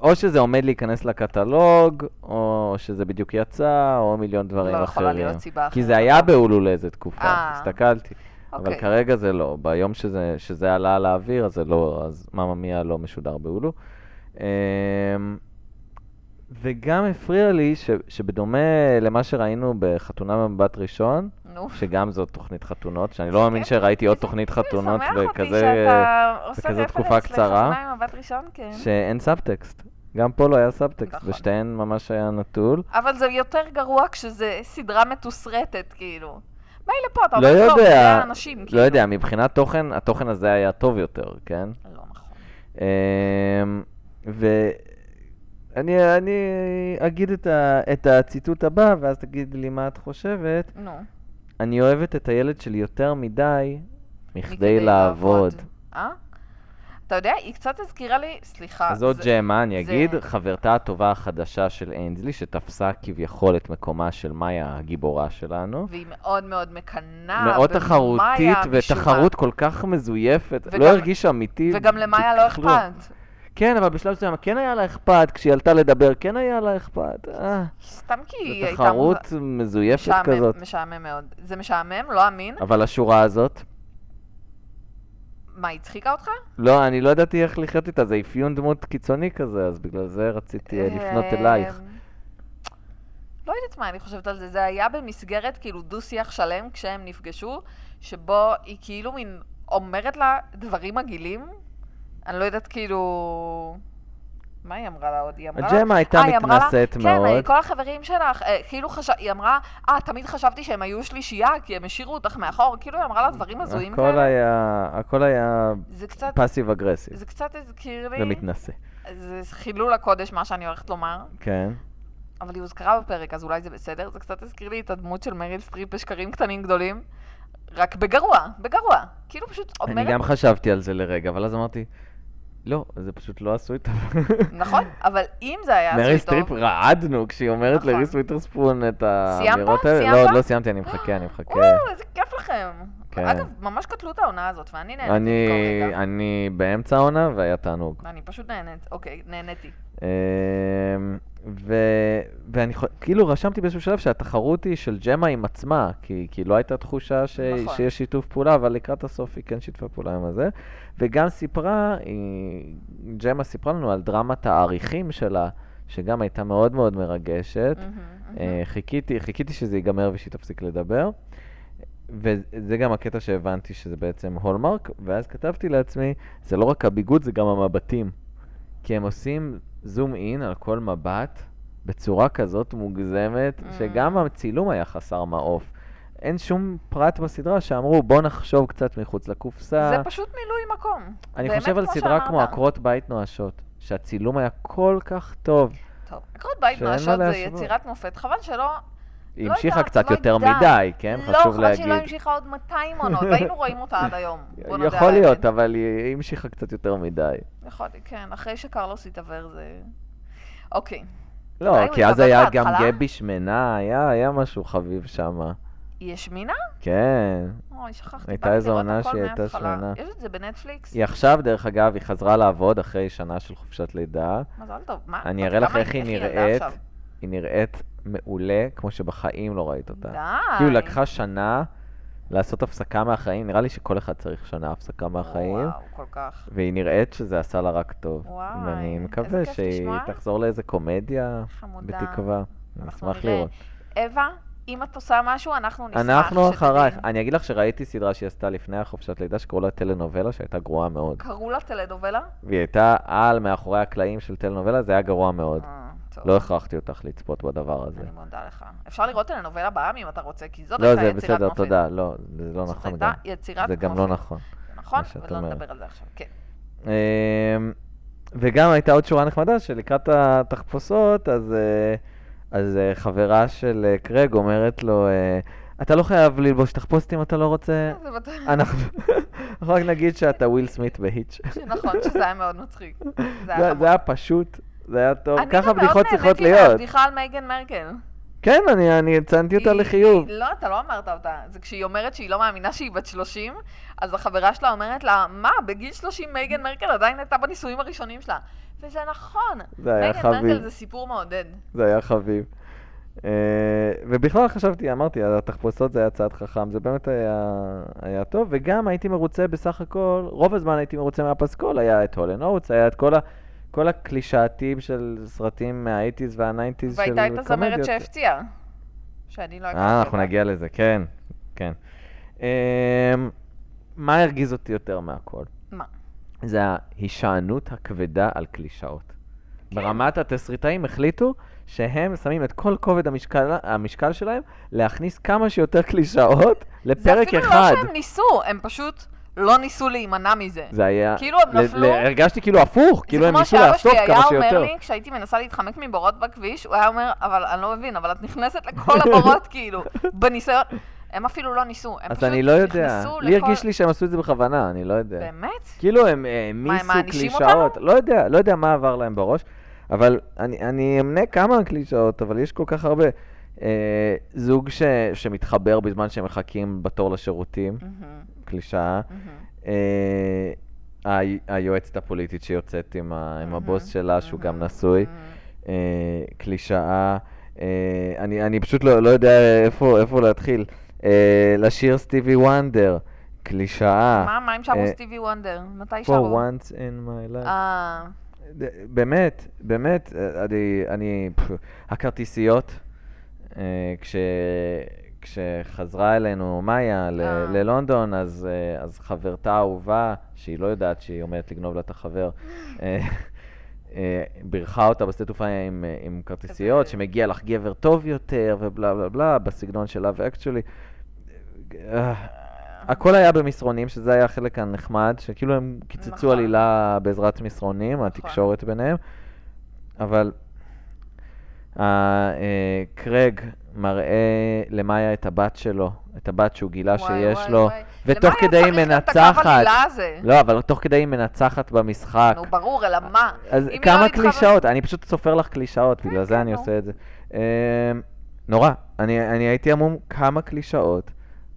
A: או שזה עומד להיכנס לקטלוג, או שזה בדיוק יצא, או מיליון דברים
B: לא יכולה
A: אחרים.
B: להיות סיבה אחרת.
A: כי זה היה בהולו לאיזה תקופה,
B: אה.
A: הסתכלתי. אבל
B: אוקיי.
A: כרגע זה לא. ביום שזה, שזה עלה על האוויר, אז זה לא, אז מאמא מיה לא משודר בהולו. אמ, וגם הפריע לי ש, שבדומה למה שראינו בחתונה במבט ראשון,
B: נו.
A: שגם זו תוכנית חתונות, שאני לא מאמין
B: כיף.
A: שראיתי עוד
B: איזה
A: תוכנית
B: כן. זה
A: חתונות
B: משמח אותי
A: בכזה,
B: שאתה עושה
A: בכזאת
B: רפרנס
A: תקופה קצרה.
B: לחתונה עם מבט ראשון, כן.
A: שאין סאבטקסט. גם פה לא היה סאבטקסט,
B: נכון. כן,
A: בשתיהן ממש היה נטול.
B: אבל זה יותר גרוע כשזה סדרה מתוסרטת, כאילו. מילא פה, אתה
A: לא
B: אומר, טוב,
A: יודע,
B: זה האנשים,
A: לא
B: כאילו.
A: יודע, מבחינת תוכן, התוכן הזה היה טוב יותר, כן?
B: לא נכון.
A: אמ, ואני אני אגיד את, ה, את הציטוט הבא, ואז תגיד לי מה את חושבת.
B: נו.
A: אני אוהבת את הילד שלי יותר מדי מכדי
B: מכדי
A: לעבוד.
B: אה? אתה יודע, היא קצת הזכירה לי, סליחה.
A: אז עוד
B: זה-
A: ג'מה, אני
B: זה-
A: אגיד, חברתה הטובה החדשה של איינזלי, שתפסה כביכול את מקומה של מאיה הגיבורה שלנו.
B: והיא מאוד מאוד מקנאה.
A: מאוד
B: במאיה
A: תחרותית,
B: משום אה, מה.
A: ותחרות כל כך מזויפת,
B: וגם-
A: לא הרגיש אמיתי.
B: וגם למאיה לא
A: בכלום.
B: אכפת.
A: כן, אבל בשלב מסוים כן היה לה אכפת, כשהיא עלתה לדבר כן היה לה אכפת. אה,
B: סתם כי היא
A: זו
B: הייתה...
A: תחרות מזויפת
B: משעמם-
A: כזאת.
B: משעמם מאוד. זה משעמם, לא אמין.
A: אבל השורה הזאת,
B: מה, היא הצחיקה אותך?
A: לא, אני לא ידעתי איך לחיות איתה, זה אפיון דמות קיצוני כזה, אז בגלל זה רציתי אה, לפנות אלייך.
B: אמ, לא יודעת מה אני חושבת על זה, זה היה במסגרת כאילו דו-שיח שלם כשהם נפגשו, שבו היא כאילו מין אומרת לה דברים מגעילים. אני לא יודעת כאילו... מה היא אמרה לה עוד? היא אמרה לה...
A: הג'מה הייתה
B: אה, היא אמרה לה,
A: מתנשאת
B: כן, אה,
A: מאוד.
B: כל החברים שלך, אה, כאילו חשב... היא אמרה, אה, תמיד חשבתי שהם היו שלישייה, כי הם השאירו אותך מאחור, כאילו היא אמרה לה דברים הזויים
A: אה, הכל
B: כאלה.
A: היה, הכל היה
B: זה קצת,
A: פאסיב אגרסיב
B: זה קצת הזכיר לי,
A: ומתנשא,
B: זה חילול הקודש מה שאני הולכת לומר.
A: כן.
B: אבל היא הוזכרה בפרק, אז אולי זה בסדר. זה קצת הזכיר לי את הדמות של מריל סטריפ בשקרים קטנים גדולים, רק בגרוע, בגרוע. כאילו פשוט
A: אני
B: אומרת,
A: גם חשבתי על זה לרגע, אבל אז אמרתי, לא, זה פשוט לא עשו איתה.
B: נכון, אבל אם זה היה
A: מרי
B: עשוי
A: סטריפ
B: טוב,
A: רעדנו כשהיא אומרת
B: נכון.
A: לריס וויטרספון את
B: סיימת?
A: האמירות האלה. לא,
B: סיימת?
A: עוד לא סיימתי, אני מחכה, אני מחכה.
B: וואו, לא, איזה כיף לכם.
A: כן.
B: אגב, ממש קטלו את העונה הזאת, ואני נהנית
A: אני,
B: מכל רגע.
A: אני באמצע העונה והיה תענוג.
B: אני פשוט נהנית, אוקיי, נהניתי.
A: אה, אמ, ו... ואני חו- כאילו רשמתי באיזשהו שלב שהתחרות היא של ג'מה עם עצמה, כי, כי לא הייתה תחושה ש...
B: נכון.
A: שיש שיתוף פעולה, אבל לקראת הסוף היא כן שיתפה פעולה עם הזה. וגם סיפרה, היא... ג'מה סיפרה לנו על דרמת העריכים שלה, שגם הייתה מאוד מאוד מרגשת.
B: מהמם, מהמם.
A: אה, חיכיתי, חיכיתי שזה ייגמר ושהיא תפסיק לדבר. וזה גם הקטע שהבנתי שזה בעצם הולמרק, ואז כתבתי לעצמי, זה לא רק הביגוד, זה גם המבטים. כי הם עושים זום אין על כל מבט בצורה כזאת מוגזמת,
B: Mm.
A: שגם הצילום היה חסר מעוף. אין שום פרט בסדרה שאמרו, בוא נחשוב קצת מחוץ לקופסה.
B: זה פשוט מילוי מקום.
A: אני
B: באמת
A: חושב על
B: כמו
A: סדרה
B: שאמרת.
A: כמו עקרות בית נואשות, שהצילום היה כל כך טוב.
B: טוב, עקרות בית
A: שאין מה
B: נואשות זה
A: להשוות.
B: יצירת מופת, חבל שלא...
A: היא
B: לא
A: המשיכה
B: יודעת,
A: קצת
B: לא
A: יותר
B: יודעת.
A: מדי, כן?
B: לא,
A: חשוב
B: חבל
A: להגיד.
B: שהיא לא המשיכה עוד 200 עונות, היינו רואים אותה עד היום. בוא נודה
A: יכול
B: על האמת.
A: להיות, אבל היא היא המשיכה קצת יותר מדי.
B: יכול, כן, אחרי שקרלוס התעוור זה... אוקיי. אולי
A: לא,
B: הוא
A: כי אז
B: התחבר
A: היה גם
B: בהתחלה?
A: גבי שמנה, היה היה משהו חביב שם.
B: היא השמינה?
A: כן.
B: אוי, שכחתי.
A: הייתה
B: באתי
A: איזו
B: לראות
A: עונה
B: הכל
A: שהיא הייתה
B: מההתחלה.
A: שמנה.
B: יש את זה בנטפליקס?
A: היא עכשיו, דרך אגב, היא חזרה לעבוד אחרי שנה של חופשת לידה.
B: מזל טוב. מה?
A: אני
B: בת
A: אראה לך
B: כמה
A: איך היא
B: ילדה
A: נראית.
B: עכשיו?
A: היא נראית מעולה, כמו שבחיים לא ראית אותה.
B: די.
A: כאילו, לקחה שנה לעשות הפסקה מהחיים, נראה לי שכל אחד צריך שנה הפסקה מהחיים.
B: וואו, כל כך.
A: והיא נראית שזה עשה לה רק טוב.
B: וואי,
A: ואני
B: איזה
A: מקווה
B: כיף
A: שהיא
B: לשמוע.
A: תחזור לאיזה קומדיה,
B: חמודה.
A: בתקווה. אני
B: אנחנו
A: אשמח
B: נראה.
A: לראות.
B: אווה, אם את עושה משהו, אנחנו נשמח
A: אנחנו
B: שתדעי.
A: אחרייך. אני אגיד לך שראיתי סדרה שהיא עשתה לפני החופשת לידה, שקראו לה טלנובלה, שהייתה גרועה מאוד.
B: קראו לה טלדובלה?
A: והיא הייתה על מאחורי הקלעים של טלנובלה, זה היה גרוע מאוד.
B: אה, טוב.
A: לא הכרחתי אותך לצפות בדבר הזה.
B: אני מודה לך. אפשר לראות טלנובלה בעם אם אתה רוצה, כי זאת
A: לא,
B: הייתה
A: זה
B: יצירת מופת.
A: בסדר, תודה. לא, זה לא
B: זאת
A: נכון
B: הייתה
A: גם.
B: יצירת
A: זה גם לא
B: מופת.
A: נכון.
B: נכון,
A: מה שאת
B: ולא
A: אומרת.
B: נדבר על זה עכשיו. כן.
A: אמ, וגם הייתה עוד שורה נחמדה, שלקראת התחפושות, אז אה, אז אה, חברה של אה, קרג אומרת לו, אה, אתה לא חייב ללבוש תחפושת אם אתה לא רוצה.
B: זה בטוח-
A: אנחנו אנחנו רק נגיד שאתה וויל סמית בהיץ'.
B: נכון, שזה היה מאוד מצחיק. זה היה
A: זה
B: חמוד.
A: זה היה פשוט, זה היה טוב.
B: אני
A: ככה
B: גם מאוד
A: בדיחות צריכות
B: נהניתי
A: להיות.
B: מהבדיחה על מייגן מרקל.
A: כן, אני- אני הצנתי אותה
B: היא-
A: לחיוב.
B: היא- לא, אתה לא אמרת אותה. זה כשהיא אומרת שהיא לא מאמינה שהיא בת 30, אז החברה שלה אומרת לה, מה, בגיל 30 מייגן מרקל עדיין הייתה בנישואים הראשונים שלה. וזה נכון,
A: זה היה
B: מייגן מרקל
A: חביב.
B: זה סיפור מעודד.
A: זה היה חביב. אה, ובכלל חשבתי, אמרתי, התחפושות זה היה צעד חכם, זה באמת היה, היה טוב, וגם הייתי מרוצה בסך הכל, רוב הזמן הייתי מרוצה מהפסקול, היה את הולן אוטס, היה את כל, ה, כל הקלישאתיים של סרטים מהאייטיז והניינטיז של
B: והייתה
A: קומדיות.
B: את הזמרת שהפציעה, שאני לא הכרתי
A: אה, אנחנו נגיע לזה, כן, כן. אמ, מה הרגיז אותי יותר מהכל?
B: מה?
A: זה ההישענות הכבדה על קלישאות.
B: כן.
A: ברמת התסריטאים החליטו שהם שמים את כל כובד המשקל, המשקל שלהם להכניס כמה שיותר קלישאות לפרק
B: זה אפילו
A: אחד.
B: לא שהם ניסו, הם פשוט לא ניסו להימנע מזה.
A: זה היה...
B: כאילו הם
A: ל-
B: נפלו-
A: ל- הרגשתי כאילו הפוך, כאילו הם ניסו
B: זה כמו
A: לאסוף
B: שאבא שלי
A: כמה
B: היה אומר
A: שיותר.
B: לי, כשהייתי מנסה להתחמק מבורות בכביש, הוא היה אומר, אבל אני לא מבין, אבל את נכנסת לכל הבורות, כאילו, בניסיון. הם אפילו לא ניסו, הם
A: אז
B: פשוט
A: אני לא יודע.
B: נכנסו
A: לי
B: לכל...
A: הרגיש לי שהם עשו את זה בכוונה, אני לא יודע.
B: באמת?
A: כאילו הם אה, העמיסו
B: מענישים
A: קלישאות, לא יודע, לא יודע מה עבר להם בראש, אבל אני, אני אמנה כמה קלישאות, אבל יש כל כך הרבה. אה, זוג ש, שמתחבר בזמן שהם מחכים בתור לשירותים,
B: מהמם,
A: קלישאה.
B: מהמם.
A: אה, ה- היועצת הפוליטית שיוצאת עם, ה, עם הבוס
B: מהמם,
A: שלה, שהוא גם
B: מהמם,
A: נשוי,
B: מהמם.
A: אה, קלישאה. אה, אני, אני פשוט לא, לא יודע איפה, איפה להתחיל. אה, לשיר סטיבי וונדר, קלישאה.
B: מה, מה הם שרו
A: אה,
B: סטיבי וונדר? מתי
A: For
B: שרו?
A: once in my life.
B: אה,
A: ד- באמת, באמת, אה, אני, אני, פפ, הכרטיסיות, אה, כש, כשחזרה אלינו מאיה ל,
B: אה.
A: ללונדון, אז, אה, אז חברתה האהובה, שהיא לא יודעת שהיא עומדת לגנוב לה את החבר, אה, אה, בירכה אותה בשדה תעופה עם, אה, עם כרטיסיות,
B: אבל-
A: שמגיע לך גבר טוב יותר, ובלה בלה בלה, בסגנון שלה ואקצ'ולי. אה, הכל היה במסרונים, שזה היה החלק הנחמד, שכאילו הם קיצצו
B: נכון.
A: עלילה בעזרת מסרונים, התקשורת ביניהם, אבל ה- אה, קרג מראה למאיה את הבת שלו, את הבת שהוא גילה
B: וואי,
A: שיש
B: וואי,
A: לו,
B: וואי.
A: ותוך
B: למה היה
A: כדי היא
B: צריך גם את הקו
A: מנצחת.
B: העלילה הזה?
A: לא, אבל תוך כדי היא מנצחת במשחק.
B: נו, ברור, אלא מה?
A: אז
B: אם היא לא
A: כמה
B: מתחברת-
A: קלישאות, אני פשוט סופר לך קלישאות,
B: כן,
A: בגלל
B: כן,
A: זה אני
B: נו.
A: עושה את זה. אמ, נורא, אני אני הייתי המום כמה קלישאות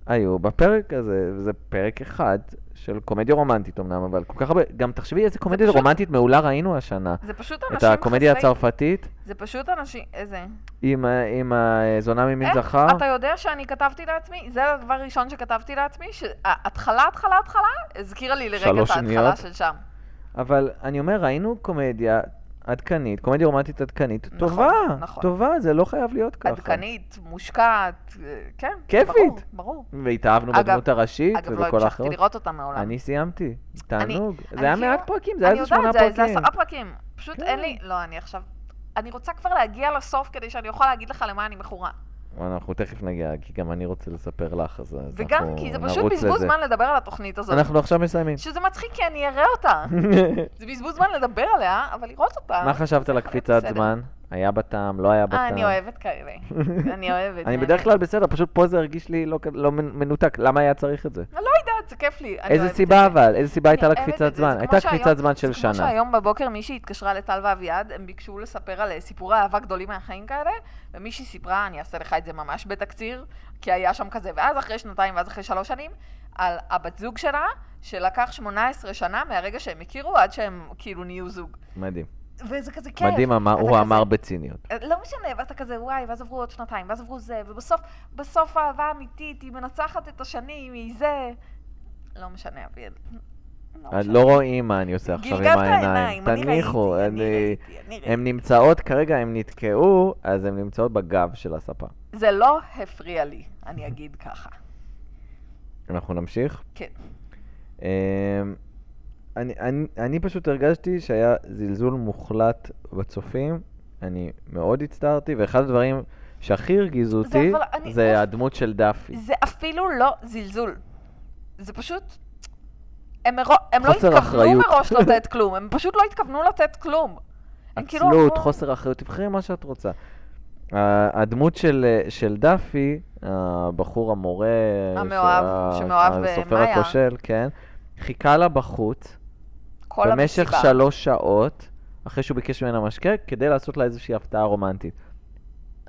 A: היו בפרק הזה, וזה פרק אחד של קומדיה רומנטית אמנם, אבל כל כך הרבה, גם תחשבי איזה קומדיה
B: פשוט-
A: רומנטית מעולה ראינו השנה.
B: זה פשוט
A: את
B: אנשים
A: הקומדיה
B: חסרי...
A: הצרפתית
B: זה פשוט אנשים... איזה?
A: עם ה- עם הזונה ממין
B: איך?
A: זכר.
B: אתה יודע שאני כתבתי לעצמי, זה הדבר הראשון שכתבתי לעצמי, שההתחלה, התחלה, התחלה, הזכירה לי לרגע
A: שלוש
B: את ההתחלה
A: שניות.
B: של שם.
A: אבל אני אומר, ראינו קומדיה עדכנית, קומדיה רומנטית עדכנית,
B: נכון,
A: טובה,
B: נכון.
A: טובה, זה לא חייב להיות ככה.
B: עדכנית, מושקעת, אה, כן.
A: כיפית.
B: ברור, ברור.
A: והתאהבנו
B: אגב-
A: בדמות הראשית
B: אגב, לא
A: ובכל האחרות.
B: המשכתי לראות אותה מעולם.
A: אני סיימתי, תענוג.
B: אני
A: זה היה
B: כאילו-
A: מעט פרקים, זה היה
B: אני
A: איזה
B: יודעת,
A: שמונה
B: זה- זה
A: פרקים.
B: עשרה פרקים. פשוט
A: כן.
B: אין לי... לא, אני עכשיו... אני רוצה כבר להגיע לסוף כדי שאני אוכל להגיד לך למה אני מכורה.
A: אנחנו תכף נגיע, כי גם אני רוצה לספר לך, אז אז
B: וגם
A: אנחנו
B: כי זה פשוט
A: נכון, נרוץ
B: בזבוז
A: לזה.
B: זמן לדבר על התוכנית הזאת.
A: אנחנו עכשיו מסיימים.
B: שזה מצחיק כי אני אראה אותה. זה בזבוז זמן לדבר עליה, אבל לראות אותה.
A: מה חשבת על
B: הכל
A: הקפיצת
B: בסדר.
A: זמן? היה בטעם, לא היה בטעם.
B: אה, אני אוהבת כן. כאלה. אני אוהבת.
A: אני בדרך כלל בסדר, פשוט פה זה הרגיש לי לא כ- לא מנ- מנותק, למה היה צריך את זה?
B: לא יודעת, זה כיף לי. אני
A: איזה
B: אוהבת
A: סיבה
B: את זה.
A: אבל? איזה סיבה הייתה
B: אני אוהבת את
A: לקפיצת
B: זה, זה
A: זמן?
B: כמו
A: הייתה
B: שהיום-
A: קפיצת זמן של
B: זה
A: שנה.
B: כמו שהיום בבוקר מישהי התקשרה לטל ואביעד, הם ביקשו לספר על אה, סיפורי אהבה גדולים מהחיים כאלה, ומישהי סיפרה, אני אעשה לך את זה ממש בתקציר, כי היה שם כזה, ואז אחרי שנתיים ואז אחרי שלוש שנים, על הבת זוג שלה, שלקח 18 שנה מהרגע שהם הכירו עד שהם כאילו נהיו זוג.
A: מדהים.
B: וזה כזה כיף.
A: מדהים, אמר-
B: כן. אתה
A: הוא
B: כזה-
A: אמר בציניות.
B: לא משנה, ואתה כזה, וואי, ואז עברו עוד שנתיים, ואז עברו זה, ובסוף, בסוף האהבה האמיתית, היא מנצחת את השנים, היא זה... לא משנה, אביאל.
A: אה, לא רואים מה אני עושה עכשיו עם העיניים. תניחו, אני- הן נמצאות כרגע, הן נתקעו, אז הן נמצאות בגב של הספה.
B: זה לא הפריע לי, אני אגיד ככה.
A: אנחנו נמשיך?
B: כן.
A: אמ, אני, אני, אני פשוט הרגשתי שהיה זלזול מוחלט בצופים, אני מאוד הצטערתי, ואחד הדברים שהכי הרגיזו
B: זה
A: אותי,
B: אבל אני- אוף.
A: זה הדמות של דאפי.
B: זה אפילו לא זלזול. זה פשוט... הם, מרו... הם לא
A: חוסר
B: התכוונו
A: אחריות.
B: מראש לתת כלום, הם פשוט לא התכוונו לתת כלום. הם כאילו
A: עצלות,
B: אמרו-
A: חוסר אחריות, תבחרי מה שאת רוצה. ה- הדמות של, אה, של דאפי, הבחור המורה...
B: המאוהב,
A: שה-
B: שמאוהב
A: הסופר
B: במאיה.
A: הכושל, כן. חיכה לה בחוץ,
B: כל
A: במשך
B: המסיבה.
A: שלוש שעות, אחרי שהוא ביקש ממנה משקה, כדי לעשות לה איזושהי הפתעה רומנטית.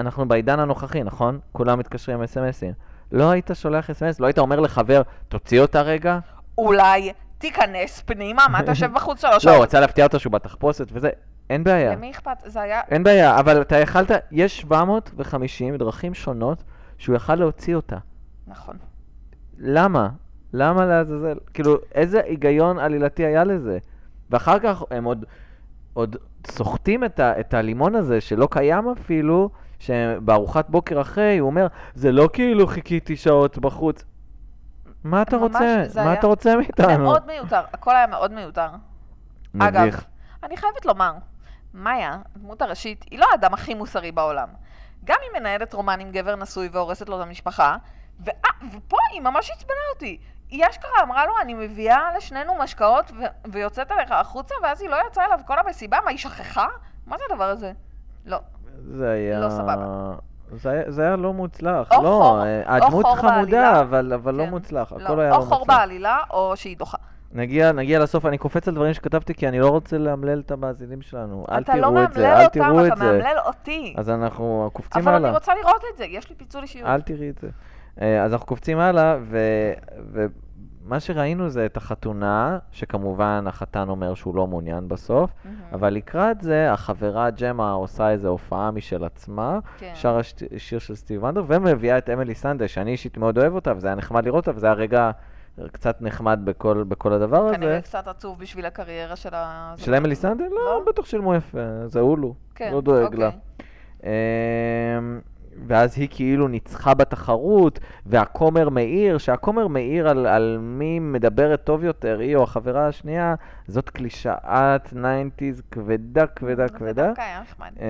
A: אנחנו בעידן הנוכחי, נכון? כולם מתקשרים עם אס.אם.אסים. לא היית שולח אס.אם.אס, לא היית אומר לחבר, תוציא אותה רגע?
B: אולי תיכנס פנימה, מה אתה יושב בחוץ שלוש
A: לא, הוא
B: שעות?
A: רצה להפתיע אותה שהוא בתחפושת וזה, אין בעיה.
B: למי אכפת? זה היה...
A: אין בעיה, אבל אתה יכלת, יש 750 דרכים שונות שהוא יכל להוציא אותה.
B: נכון.
A: למה? למה לעזאזל? כאילו, איזה היגיון עלילתי היה לזה? ואחר כך הם עוד, עוד סוחטים את, ה, את הלימון הזה, שלא קיים אפילו, שבארוחת בוקר אחרי, הוא אומר, זה לא כאילו חיכיתי שעות בחוץ. מה אתה
B: ממש,
A: רוצה?
B: זה
A: מה
B: היה
A: אתה רוצה מאיתנו?
B: מאוד מיותר, הכל היה מאוד מיותר. אגב,
A: מביך.
B: אני חייבת לומר, מאיה, הדמות הראשית, היא לא האדם הכי מוסרי בעולם. גם היא מנהלת רומן עם גבר נשוי והורסת לו את המשפחה, ו... ופה היא ממש עצבנה אותי. היא אשכרה אמרה לו, אני מביאה לשנינו משקאות ו... ויוצאת אליך החוצה, ואז היא לא יצאה אליו כל המסיבה, מה, היא שכחה? מה זה הדבר הזה? לא.
A: זה היה...
B: לא סבבה.
A: זה היה, זה היה לא מוצלח,
B: או
A: לא,
B: חור-
A: אה, הדמות
B: חור
A: חמודה,
B: בעלילה.
A: אבל, אבל לא
B: כן.
A: מוצלח, הכל
B: לא.
A: היה
B: או
A: לא
B: חור
A: מוצלח.
B: בעלילה, או שהיא דוחה.
A: נגיע, נגיע לסוף, אני קופץ על דברים שכתבתי כי אני לא רוצה לאמלל את המאזינים שלנו. אל
B: אתה לא
A: תראו את זה,
B: מאמלל
A: אל
B: אותם,
A: תראו
B: אתה
A: את זה.
B: מאמלל אותי.
A: אז אנחנו קופצים
B: אבל אני
A: הלאה.
B: רוצה לראות את זה, יש לי פיצול אישיות.
A: אל תראי את זה. אה, אז אנחנו קופצים הלאה, ו- ומה שראינו זה את החתונה, שכמובן החתן אומר שהוא לא מעוניין בסוף,
B: מהמם.
A: אבל לקראת זה החברה ג'מה עושה איזו הופעה משל עצמה,
B: כן.
A: שרה השט- שיר של סטיב וונדר, ומביאה את אמילי סנדה, שאני אישית מאוד אוהב אותה, וזה היה נחמד לראות אותה, וזה היה רגע קצת נחמד בכל, בכל הדבר הזה.
B: כנראה קצת עצוב בשביל הקריירה של ה...
A: של אמילי סנדה? לא,
B: לא?
A: בטח שילמו יפה, זה הולו.
B: כן,
A: לא דואג
B: אוקיי.
A: לה. אמ, ואז היא כאילו ניצחה בתחרות, והכומר מאיר, שהכומר מאיר על, על מי מדברת טוב יותר, היא או החברה השנייה, זאת קלישאת 90's כבדה, כבדה,
B: לא, זה
A: כבדה.
B: דווקא היה נחמד.
A: אה,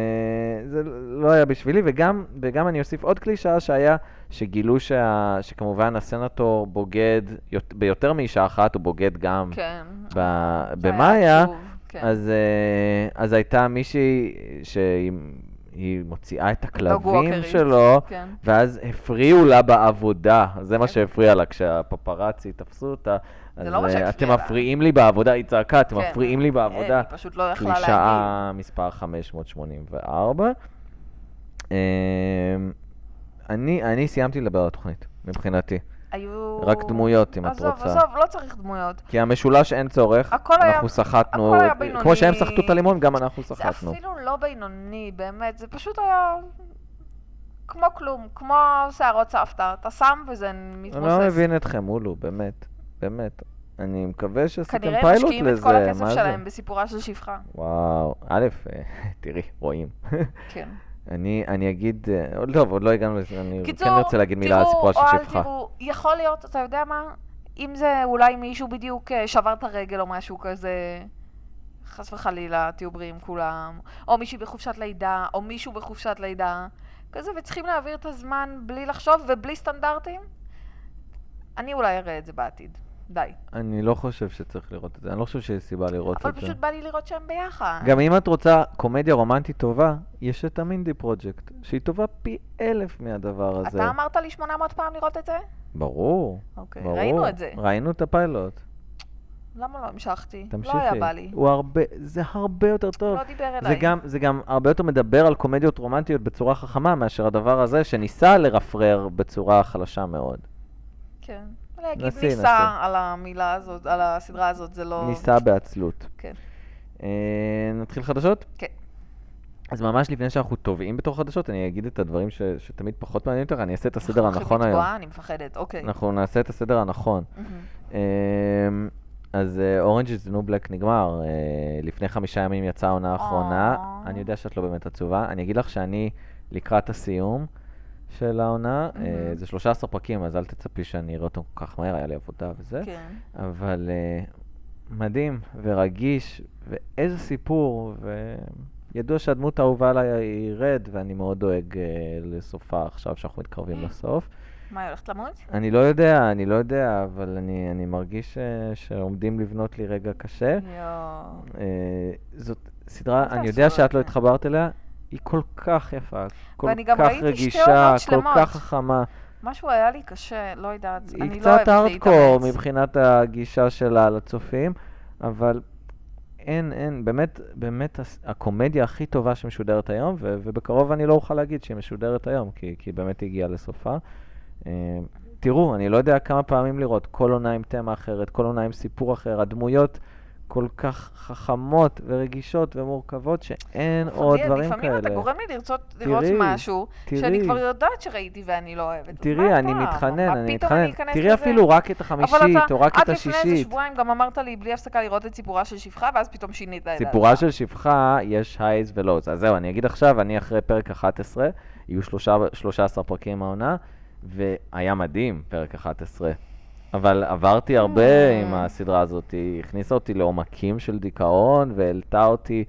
A: זה לא היה בשבילי, וגם, וגם אני אוסיף עוד קלישאה שהיה, שגילו שה, שכמובן הסנטור בוגד יות- ביותר מאישה אחת, הוא בוגד גם
B: כן.
A: ב,
B: זה היה
A: במאיה.
B: עצוב, כן.
A: אמ, אז, אה, אז הייתה מישהי שהיא היא מוציאה את הכלבים
B: בווקרית.
A: שלו,
B: כן.
A: ואז הפריעו לה בעבודה. זה מה
B: כן.
A: שהפריע לה כשהפפראצי תפסו אותה.
B: זה
A: אז,
B: לא מה
A: אה,
B: שהפריע
A: אתם
B: לה."
A: מפריעים לי בעבודה, היא צעקה, אתם
B: כן.
A: מפריעים לי
B: אה,
A: בעבודה.
B: היא פשוט לא יכלה להגיד.
A: קלישאה מספר 584. אה, אני, אני סיימתי לדבר על התוכנית, מבחינתי.
B: היו...
A: רק דמויות, אם את
B: עזוב,
A: רוצה.
B: עזוב, לא צריך דמויות.
A: כי המשולש אין צורך,
B: הכל היה-
A: אנחנו סחטנו,
B: הכל היה
A: כמו שהם
B: בינוני.
A: סחטו את הלימון, גם אנחנו
B: זה
A: סחטנו.
B: אפילו לא בינוני, באמת. זה פשוט היה... כמו כלום, כמו שערות סבתא. אתה שם וזה מתמוסס.
A: אני לא מבין אתכם, אולו, באמת, באמת. אני מקווה שעשיתם
B: כנראה הם
A: פיילוט
B: משקיעים את כל
A: לזה,
B: הכסף
A: מה זה?
B: שלהם בסיפורה של שפחה.
A: וואו, א', אה, תראי, רואים.
B: כן.
A: אני אני אגיד, אה, עוד לא, עוד לא הגענו לזה, אני
B: קיצור,
A: כן רוצה להגיד מילה על סיפורה של שפחה.
B: תראו, או אל תראו, יכול להיות, אתה יודע מה? אם זה אולי מישהו בדיוק אה, שבר את הרגל או משהו כזה, חס וחלילה, תהיו בריאים כולם, או מישהי בחופשת לידה, או מישהו בחופשת לידה, כזה, וצריכים להעביר את הזמן בלי לחשוב ובלי סטנדרטים, אני אולי אראה את זה בעתיד. די.
A: אני לא חושב שצריך לראות את זה, אני לא חושב שיש סיבה לראות
B: אבל
A: את זה.
B: פשוט בא לי לראות שהם ביחד.
A: אוקיי. גם אם את רוצה קומדיה רומנטית טובה, יש את המינדי פרוג'קט, שהיא טובה פי אלף מהדבר הזה.
B: אתה אמרת לי 800 פעם לראות את זה?
A: ברור.
B: אוקיי,
A: ברור.
B: ראינו את זה.
A: ראינו את הפיילוט.
B: למה לא המשכתי?
A: תמשיכי.
B: לא היה בא לי.
A: הוא הרבה, זה הרבה יותר טוב.
B: לא דיבר
A: זה
B: אליי.
A: גם, זה גם הרבה יותר מדבר על קומדיות רומנטיות בצורה חכמה מאשר הדבר הזה שניסה לרפרר בצורה חלשה מאוד.
B: כן. להגיד
A: נסי,
B: ניסה
A: נסי.
B: על המילה הזאת, על הסדרה הזאת, זה לא...
A: ניסה בעצלות.
B: כן.
A: אה, נתחיל חדשות?
B: כן.
A: אז ממש לפני שאנחנו טובעים בתור חדשות, אני אגיד את הדברים ש, שתמיד פחות מעניינים אותך, אני אעשה את הסדר
B: אנחנו
A: הנכון
B: הולכים
A: היום. נכון.
B: לתבוע, אני מפחדת, אוקיי.
A: אנחנו נעשה את הסדר הנכון.
B: מהמם.
A: אמ, אז אורנג' is the new black נגמר. אה, לפני חמישה ימים יצאה העונה האחרונה.
B: אה.
A: אני יודע שאת לא באמת עצובה. אני אגיד לך שאני לקראת הסיום של העונה. אה,
B: מהמם.
A: זה 13 פרקים, אז אל תצפי שאני אראה אותו כל כך מהר, היה לי עבודה וזה.
B: כן.
A: אבל אה, מדהים ורגיש, ואיזה סיפור. וידוע שהדמות האהובה עליי היא רד, ואני מאוד דואג אה, לסופה עכשיו, שאנחנו מתקרבים לסוף.
B: מה, היא הולכת למות?
A: אני לא יודע, אני לא יודע, אבל אני, אני מרגיש ש, שעומדים לבנות לי רגע קשה.
B: יואו. כן.
A: אה, זאת סדרה,
B: מה זה
A: אני יודע
B: השטויות
A: שאת לא
B: האלה?
A: התחברת אליה, היא כל כך יפה, כל
B: כן. ואני גם
A: כך
B: ראיתי שתי
A: רגישה,
B: עונות
A: כל
B: שלמות.
A: כך חכמה.
B: משהו היה לי קשה, לא יודעת, אני לא
A: היא
B: אוהבת
A: קצת
B: להתאמץ.
A: הארדקור מבחינת הגישה שלה לצופים, אבל אין, אין, באמת, באמת הס- הקומדיה הכי טובה שמשודרת היום, ו- ובקרוב אני לא אוכל להגיד שהיא משודרת היום, כי, כי היא באמת הגיעה לסופה. אה, תראו, אני לא יודע כמה פעמים לראות, כל עונה עם תמה אחרת, כל עונה עם סיפור אחר, הדמויות כל כך חכמות ורגישות ומורכבות, שאין עוד
B: חביב,
A: דברים
B: לפעמים אתה
A: כאלה.
B: גורם לי לרצות לראות
A: תראי,
B: משהו, שאני
A: תראי.
B: כבר יודעת שראיתי ואני לא אוהבת. אז
A: תראי,
B: מה
A: אני
B: הפעם?
A: מתחנן,
B: מה
A: אני
B: פתאום
A: מתחנן.
B: אכנס
A: תראי
B: לזה?
A: אפילו רק את
B: אבל
A: החמישית,
B: אתה-
A: או רק את השישית.
B: עד לפני איזה שבועיים גם אמרת לי בלי הפסקה לראות את סיפורה של שפחה, ואז פתאום שינית את דעתך.
A: סיפורה של שפחה, יש הייז ולואוז. אז זהו, אני אגיד עכשיו, אני אחרי פרק 11, יהיו שלושה, 13 פרקים העונה, והיה מדהים פרק 11. אבל עברתי הרבה
B: Mm.
A: עם הסדרה הזאת, היא הכניסה אותי לעומקים של דיכאון, והעלתה אותי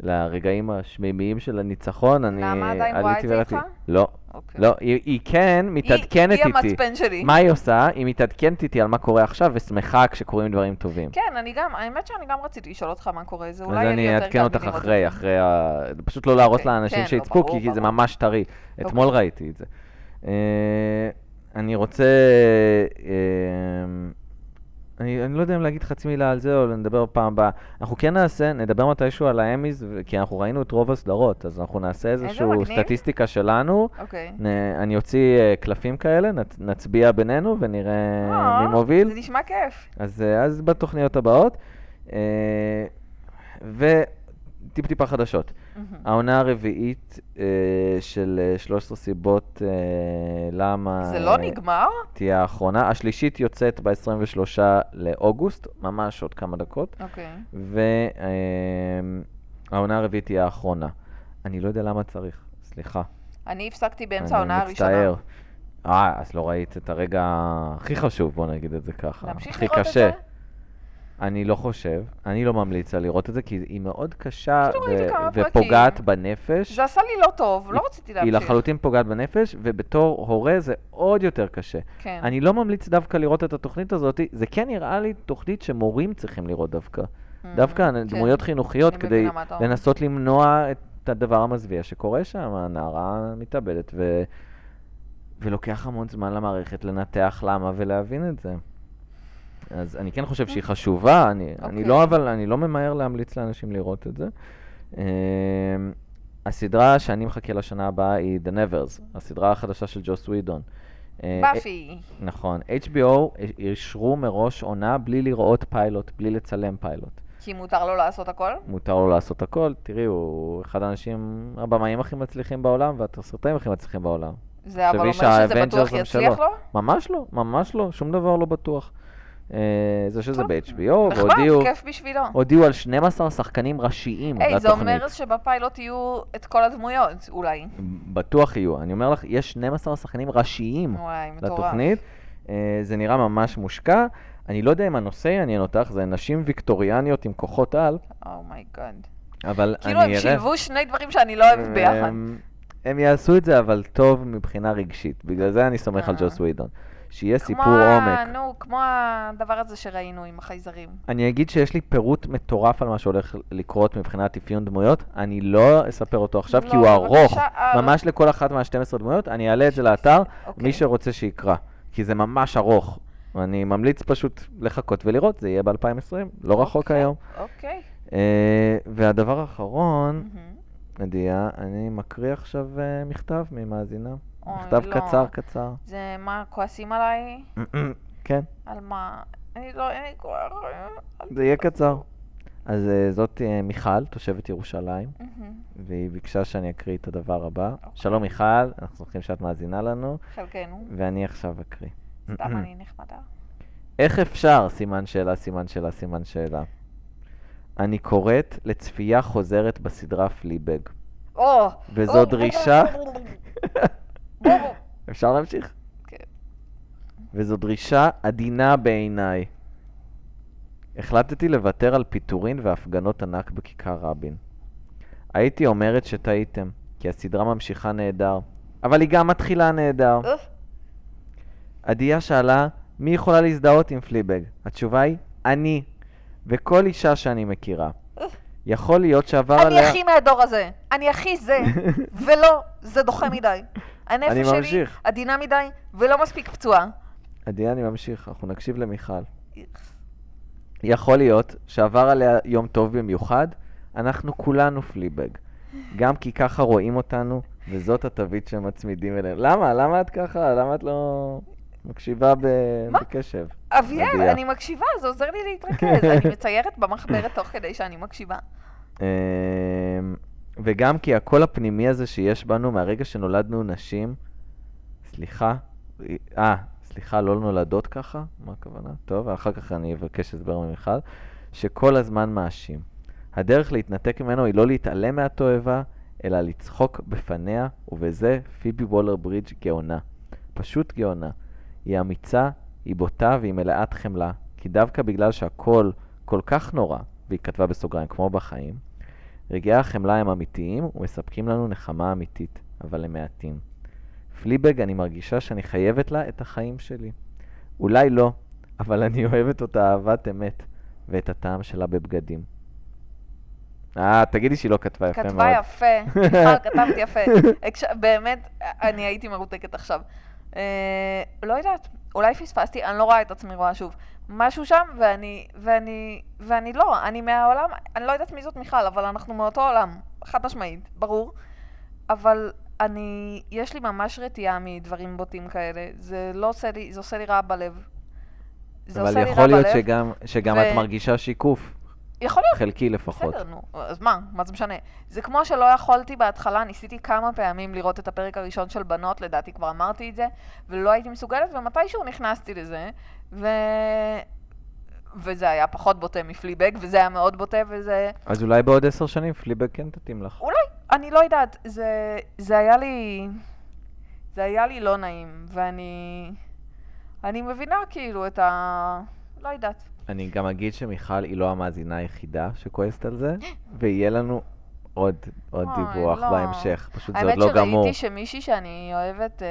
A: לרגעים השמימיים של הניצחון. אני
B: נעמה עדיין רואה
A: עליתי
B: את זה
A: ולעתי-
B: איתך?
A: לא,
B: אוקיי.
A: לא, היא היא כן מתעדכנת
B: היא, היא
A: איתי.
B: המצפן שלי.
A: מה היא עושה? היא מתעדכנת איתי על מה קורה עכשיו, ושמחה כשקורים דברים טובים.
B: כן, אני גם, האמת שאני גם רציתי לשאול אותך מה קורה, זה
A: אז
B: אולי יהיה לי
A: אני
B: יותר
A: אעדכן
B: קל
A: אותך
B: מלראות.
A: אחרי, אחרי ה... פשוט לא להראות
B: אוקיי,
A: לאנשים
B: כן,
A: שיצפו,
B: לא,
A: כי-
B: ברור,
A: כי זה
B: ברור.
A: ממש טרי. אתמול
B: אוקיי.
A: ראיתי את זה. אה, אני רוצה... אה, אני, אני לא יודע אם להגיד חצי מילה על זה, או נדבר פעם הבאה. אנחנו כן נעשה, נדבר מתישהו על האמיז, ו- כי אנחנו ראינו את רוב הסדרות, אז אנחנו נעשה איזושהי
B: מגניב.
A: סטטיסטיקה שלנו.
B: אוקיי.
A: נ, אני אוציא אה, קלפים כאלה, נצ, נצביע בינינו ונראה
B: אה,
A: מי מוביל.
B: זה נשמע כיף.
A: אז, אה, אז בתוכניות הבאות. אה, וטיפ-טיפה חדשות. העונה הרביעית אה, של אה, 13 סיבות אה, למה...
B: זה לא
A: אה,
B: נגמר?
A: תהיה האחרונה. השלישית יוצאת ב-23 לאוגוסט, ממש עוד כמה דקות.
B: אוקיי.
A: והעונה הרביעית תהיה האחרונה. אני לא יודע למה צריך, סליחה.
B: אני הפסקתי באמצע העונה הראשונה.
A: אני מצטער. אה, אז לא ראית את הרגע הכי חשוב, בוא נגיד את זה ככה.
B: להמשיך
A: אה, הכי
B: לראות את
A: קשה.
B: זה?
A: אני לא חושב, אני לא ממליץ לה לראות את זה, כי היא מאוד קשה
B: אפילו ראיתי כמה פרקים.
A: ופוגעת בנפש.
B: זה עשה לי לא טוב, לא
A: היא-
B: רציתי
A: היא
B: להמשיך.
A: לחלוטין פוגעת בנפש, ובתור הורה זה עוד יותר קשה.
B: כן.
A: אני לא ממליץ דווקא לראות את התוכנית הזאת, זה כן נראה לי תוכנית שמורים צריכים לראות דווקא.
B: Mm,
A: דווקא
B: כן.
A: דמויות חינוכיות
B: אני
A: כדי
B: מבינה מה אתה אומר.
A: לנסות למנוע את הדבר המזוויע שקורה שם, הנערה מתאבדת, ו... ולוקח המון זמן למערכת לנתח למה ולהבין את זה. אז אני כן חושב שהיא חשובה, אני, okay. אני
B: אוקיי.
A: לא, אבל אני לא ממהר להמליץ לאנשים לראות את זה. אמ, הסדרה שאני מחכה לשנה הבאה היא The Nevers, הסדרה החדשה של ג'וס ווידון. אה,
B: באפי.
A: נכון. HBO אישרו מראש עונה בלי לראות פיילוט, בלי לצלם פיילוט.
B: כי מותר לו לעשות הכל?
A: מותר לו לעשות הכל, תראי, הוא אחד האנשים, הבמאים הכי מצליחים בעולם והתסרטאים הכי מצליחים בעולם.
B: זה אבל
A: תחשבי
B: אומר שזה
A: שהאבנג'רס
B: בטוח
A: הם
B: יצליח
A: שלו.
B: לו?
A: ממש לא, ממש לא, שום דבר לא בטוח. אה, זה שזה
B: טוב.
A: ב-HBO,
B: נחמד,
A: והודיעו
B: כיף בשבילו.
A: הודיעו על 12 שחקנים ראשיים
B: היי, זה
A: לתוכנית.
B: אומר שבפיילוט יהיו את כל הדמויות, אולי.
A: בטוח יהיו, אני אומר לך, יש 12 שחקנים ראשיים
B: וואי, מטורף.
A: Mm. לתוכנית. אה, זה נראה ממש מושקע. אני לא יודע אם הנושא יעניין אותך, זה נשים ויקטוריאניות עם כוחות על,
B: Oh אומייגאד.
A: אבל אני
B: כאילו
A: אראה...
B: הם שילבו שני דברים שאני לא אוהבת ביחד.
A: הם- הם יעשו את זה, אבל טוב מבחינה רגשית. בגלל זה אני סומך על
B: אה.
A: ג'וס ווידון. שיהיה
B: כמו
A: סיפור
B: ה-
A: עומק.
B: נו, כמו הדבר הזה שראינו עם החייזרים.
A: אני אגיד שיש לי פירוט מטורף על מה שהולך לקרות מבחינת אפיון דמויות. אני לא אספר אותו עכשיו, כי
B: לא,
A: הוא ארוך.
B: בבקשה, אל.
A: ממש לכל אחת מה-12 דמויות. אני אעלה את זה לאתר,
B: אוקיי.
A: מי שרוצה שיקרא. כי זה ממש ארוך. אני ממליץ פשוט לחכות ולראות, זה יהיה ב-2020, לא רחוק
B: אוקיי,
A: היום.
B: אוקיי.
A: אה, והדבר האחרון,
B: מהמם.
A: נדיה, אני מקריא עכשיו אה, מכתב ממאזינה.
B: אוי,
A: מכתב
B: לא.
A: קצר קצר.
B: זה מה, כועסים עליי?
A: כן,
B: על מה? אני לא, אין לי כוח.
A: זה יהיה קצר. אז אה, זאת אה, מיכל, תושבת ירושלים,
B: מהמם.
A: והיא ביקשה שאני אקריא את הדבר הבא.
B: אוקיי.
A: שלום מיכל, אנחנו שמחים שאת מאזינה לנו,
B: חלקנו.
A: ואני עכשיו אקריא. אה,
B: סתם אני נחמדה.
A: איך אפשר? סימן שאלה, סימן שאלה, סימן שאלה. אני קוראת לצפייה חוזרת בסדרה פליבג.
B: או!
A: וזו
B: או,
A: דרישה-
B: או, או, או, או.
A: אפשר להמשיך?
B: כן.
A: וזו דרישה עדינה בעיניי. החלטתי לוותר על פיטורין והפגנות ענק בכיכר רבין. הייתי אומרת שטעיתם, כי הסדרה ממשיכה נהדר, אבל היא גם מתחילה נהדר.
B: אוף,
A: עדיה שאלה, מי יכולה להזדהות עם פליבג? התשובה היא, אני, וכל אישה שאני מכירה. יכול להיות שעבר
B: אני
A: עליה...
B: הכי מהדור הזה, אני הכי זה, ולא, זה דוחה מדי.
A: אני
B: הנפש שלי
A: ממשיך.
B: עדינה מדי, ולא מספיק פצועה.
A: עדיין אני ממשיך, אנחנו נקשיב למיכל. יכול להיות שעבר עליה יום טוב במיוחד, אנחנו כולנו פליבג. גם כי ככה רואים אותנו, וזאת התווית שמצמידים אליהם. למה? למה את ככה? למה את לא מקשיבה ב...
B: מה?
A: בקשב?
B: אביאל,
A: מגיע.
B: אני מקשיבה, זה עוזר לי להתרכז. אני מציירת במחברת תוך כדי שאני מקשיבה.
A: אמ, וגם כי הקול הפנימי הזה שיש בנו מהרגע שנולדנו נשים, סליחה, אה, סליחה, לא נולדות ככה? מה הכוונה? טוב, אחר כך אני אבקש הסבר ממיכל, שכל הזמן מאשים. הדרך להתנתק ממנו היא לא להתעלם מהתועבה, אלא לצחוק בפניה, ובזה פיבי וולר ברידג' גאונה. פשוט גאונה. היא אמיצה, היא בוטה והיא מלאת חמלה, כי דווקא בגלל שהכל כל כך נורא, והיא כתבה בסוגריים, כמו בחיים, רגעי החמלה הם אמיתיים ומספקים לנו נחמה אמיתית, אבל הם מעטים. פליבג, אני מרגישה שאני חייבת לה את החיים שלי. אולי לא, אבל אני אוהבת אותה אהבת אמת, ואת הטעם שלה בבגדים. אה, תגידי שהיא לא כתבה יפה מאוד.
B: כתבה יפה, מיכל, כתבת יפה. הקש- באמת, אני הייתי מרותקת עכשיו. אה, לא יודעת, אולי פספסתי, אני לא רואה את עצמי רואה שוב. משהו שם, ואני, ואני, ואני לא, אני מהעולם, אני לא יודעת מי זאת מיכל, אבל אנחנו מאותו עולם, חד משמעית, ברור. אבל אני, יש לי ממש רתיעה מדברים בוטים כאלה. זה לא עושה לי, זה עושה לי רע בלב. זה עושה
A: אבל
B: לי רע בלב.
A: יכול להיות שגם, שגם
B: ו-
A: את מרגישה שיקוף,
B: יכול להיות.
A: חלקי לפחות.
B: בסדר, נו, אז מה? מה זה משנה? זה כמו שלא יכולתי בהתחלה, ניסיתי כמה פעמים לראות את הפרק הראשון של בנות, לדעתי כבר אמרתי את זה, ולא הייתי מסוגלת, ומתישהו נכנסתי לזה, ו... וזה היה פחות בוטה מפליבק, וזה היה מאוד בוטה, וזה...
A: אז אולי בעוד עשר שנים פליבג כן תתאים לך.
B: אני לא יודעת, זה, זה היה לי... זה היה לי לא נעים, ואני... אני מבינה כאילו את ה... לא יודעת.
A: אני גם אגיד שמיכל היא לא המאזינה היחידה שכועסת על זה, ויהיה לנו עוד, עוד
B: אוי,
A: דיווח
B: לא.
A: בהמשך, פשוט זה עוד
B: האמת
A: לא גמור.
B: שראיתי שמישהי שאני אוהבת, אה,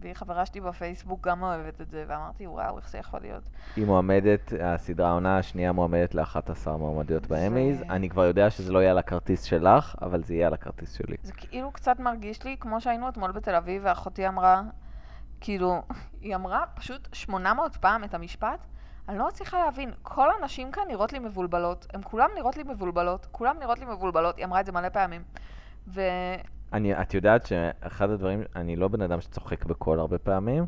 B: והיא חברה שלי בפייסבוק, גם אוהבת את זה, ואמרתי, וואו, איך זה יכול להיות.
A: היא מועמדת, הסדרה העונה השנייה מועמדת ל-11 מועמדויות
B: זה-
A: באמיז. אני כבר יודע שזה לא יהיה על הכרטיס שלך, אבל זה יהיה על הכרטיס שלי.
B: זה כאילו קצת מרגיש לי, כמו שהיינו אתמול בתל אביב, ואחותי אמרה, כאילו, היא אמרה פשוט 800 פעם את המשפט, אני לא מצליחה להבין, כל הנשים כאן נראות לי מבולבלות, הן כולן נראות לי מבולבלות, כולן נראות לי מבולבלות, היא אמרה את זה מלא פעמים. ונו,
A: אני, את יודעת שאחד הדברים, אני לא בן אדם שצוחק בקול הרבה פעמים,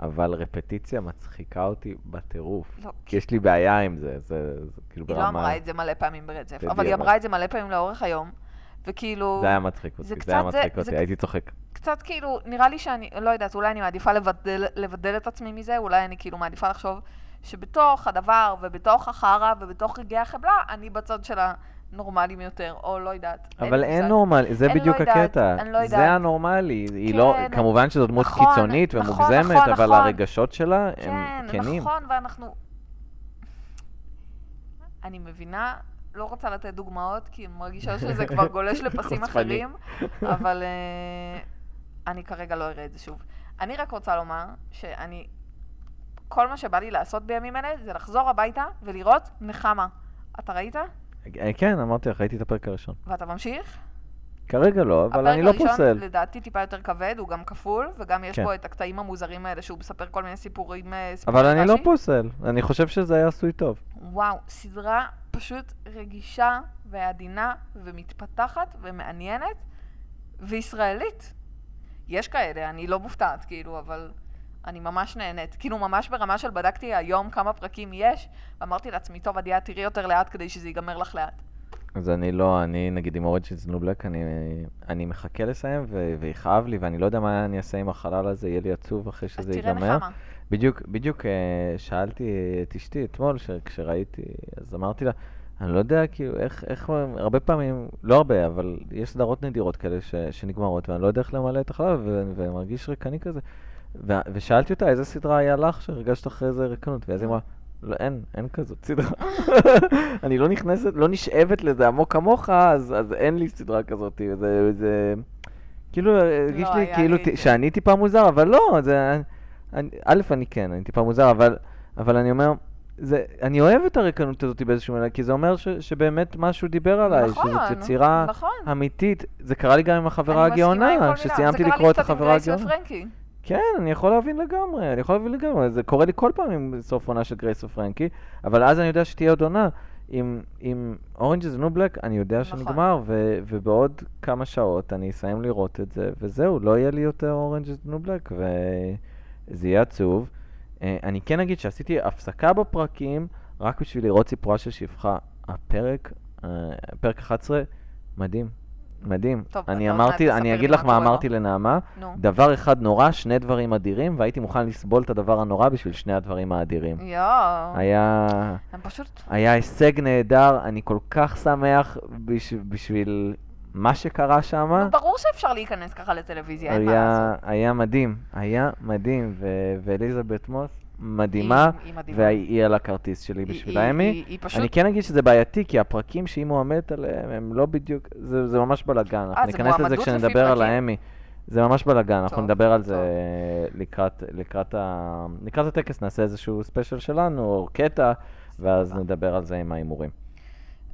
A: אבל רפטיציה מצחיקה אותי בטירוף.
B: לא,
A: כי יש לי בעיה עם זה, זה, זה כאילו
B: היא
A: ברמה...
B: לא אמרה את זה מלא פעמים ברצף, אבל
A: בדיעבד.
B: היא אמרה את זה מלא פעמים לאורך היום, וכאילו...
A: זה היה מצחיק אותי,
B: זה
A: זה, היה
B: קצת- זה-
A: מצחיק
B: זה
A: אותי,
B: ק-
A: הייתי צוחק.
B: קצת כאילו, נראה לי שאני, לא יודעת, אולי אני מעדיפה לבדל, לבדל את עצמי מזה, אולי אני כאילו מעדיפה לחשוב שבתוך הדבר ובתוך החרא ובתוך רגעי החבלה, אני בצד של הנורמלים יותר, או לא יודעת. לי
A: אבל אין
B: מושג.
A: נורמלי, זה
B: אני לא
A: בדיוק
B: יודעת,
A: הקטע.
B: אני לא יודעת.
A: זה הנורמלי, היא לא,
B: כן,
A: כמובן שזו דמות
B: נכון,
A: קיצונית
B: נכון,
A: ומוגזמת,
B: נכון,
A: אבל
B: נכון.
A: הרגשות שלה הם
B: כן,
A: כנים.
B: נכון, ואנחנו... אני מבינה, לא רוצה לתת דוגמאות, כי אני מרגישה שזה כבר גולש לפסים
A: חוצפני.
B: אחרים, אבל אה, אני כרגע לא אראה את זה שוב. אני רק רוצה לומר שאני... כל מה שבא לי לעשות בימים אלה זה לחזור הביתה ולראות נחמה. אתה ראית?
A: אה, כן, אמרתי לך, ראיתי את הפרק הראשון.
B: ואתה ממשיך?
A: כרגע לא, אבל אני לא
B: הפרק
A: פוסל.
B: הראשון לדעתי טיפה יותר כבד, הוא גם כפול, וגם יש
A: כן.
B: בו את הקטעים המוזרים האלה שהוא מספר כל מיני סיפורים, אה, סיפורי
A: אבל אני לא
B: רש"י.
A: פוסל, אני חושב שזה היה עשוי טוב.
B: וואו, סדרה פשוט רגישה ועדינה ומתפתחת ומעניינת וישראלית. יש כאלה, אני לא מופתעת, כאילו, אבל אני ממש נהנית. כאילו, ממש ברמה של בדקתי היום כמה פרקים יש, ואמרתי לעצמי, טוב, עדיה, תראי יותר לאט כדי שזה ייגמר לך לאט.
A: אז אני לא, אני נגיד עם אורג'ינס נו בלק, אני מחכה לסיים ו- ויכאב לי, ואני לא יודע מה אני אעשה עם החלל הזה, יהיה לי עצוב אחרי
B: אז
A: שזה
B: תראה
A: ייגמר.
B: נחמה.
A: בדיוק, בדיוק אה, שאלתי את אשתי אתמול, ש- כשראיתי, אז אמרתי לה, אני לא יודע, כאילו, איך, איך, הרבה פעמים, לא הרבה, אבל יש סדרות נדירות כאלה ש, שנגמרות, ואני לא יודע איך למלא את החלב, ו- ומרגיש ריקני כזה. ו, ושאלתי אותה, איזה סדרה היה לך שהרגשת אחרי זה ריקנות? ואז היא אמרה, לא, אין, אין כזאת סדרה. אני לא נכנסת, לא נשאבת לזה עמוק כמוך, אז, אז אין לי סדרה כזאת. זה, זה... כאילו, הרגיש לי
B: לא היה
A: כאילו
B: לי
A: ט-
B: את זה.
A: שאני טיפה מוזר, אבל לא, זה... אני- א', אני כן, אני טיפה מוזר, אבל, אבל אני אומר, זה, אני אוהב את הריקנות הזאת באיזשהו מילה, כי זה אומר ש, שבאמת משהו דיבר עליי, שזאת לא, יצירה
B: נכון.
A: אמיתית. זה קרה לי גם עם החברה
B: אני מסכימה עם כל
A: הגאונה,
B: מילה.
A: כשסיימתי לקרוא את
B: זה
A: החברה
B: קרה לי קצת עם גרייס
A: הגאונה.
B: ופרנקי.
A: כן, אני יכול להבין לגמרי, אני יכול להבין לגמרי, זה קורה לי כל פעם עם סוף עונה של גרייס ופרנקי, אבל אז אני יודע שתהיה עוד עונה. עם, עם Orange is the New Black, אני יודע
B: נכון.
A: שנגמר, ו, ובעוד כמה שעות אני אסיים לראות את זה, וזהו, לא יהיה לי יותר Orange is the New Black, וזה יהיה עצוב. אה, אני כן אגיד שעשיתי הפסקה בפרקים, רק בשביל לראות סיפורה של שפחה. הפרק, אה, פרק 11, מדהים, מדהים.
B: טוב,
A: אני
B: אתה עוד מעט
A: אמרתי,
B: תספר
A: אני אגיד
B: לי
A: לך
B: מה
A: מה
B: קורה לו.
A: אמרתי לנעמה,
B: נו.
A: דבר אחד נורא, שני דברים אדירים, והייתי מוכן לסבול את הדבר הנורא בשביל שני הדברים האדירים.
B: יואו.
A: היה,
B: הם פשוט...
A: היה הישג נהדר, אני כל כך שמח בש, בשביל מה שקרה שם.
B: נו, לא ברור שאפשר להיכנס ככה לטלוויזיה, אין מה
A: היה,
B: לעשות.
A: היה מדהים, היה מדהים, ו- ואליזבת מוס
B: היא-
A: מדהימה,
B: היא מדהימה.
A: והיא על הכרטיס שלי
B: היא-
A: בשביל
B: היא-
A: האמי.
B: היא- היא
A: אני
B: פשוט...
A: כן אגיד שזה בעייתי, כי הפרקים שהיא מועמדת עליהם הם לא בדיוק, זה, זה ממש בלאגן. אנחנו
B: אה, זה
A: ניכנס לזה
B: מועמדות לפי
A: כשנדבר על
B: פרקים?
A: האמי. זה ממש בלאגן, אנחנו
B: טוב,
A: נדבר על
B: טוב.
A: זה לקראת, לקראת, ה... לקראת הטקס, נעשה איזשהו ספיישל שלנו, או קטע, ואז נדבר על זה עם ההימורים.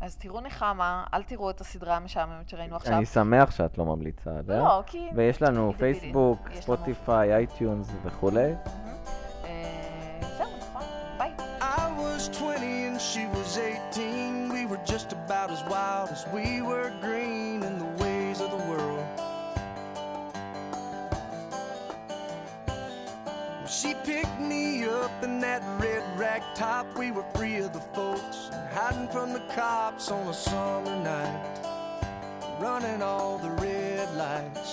B: אז תראו נחמה, אל תראו את הסדרה המשעממת שראינו עכשיו.
A: אני שמח שאת לא ממליצה עליה.
B: לא, כי...
A: ויש לנו
B: היא דבילית.
A: פייסבוק,
B: יש לנו-
A: ספוטיפיי, אייטיונס וכולי.
B: אה, זהו, נכון. ביי.
C: I was 20 and she was 18. We were just about as wild as we were green in the ways of the world. She picked me up in that red rag top. We were free of the folks and hiding from the cops on a summer night. Running all the red lights.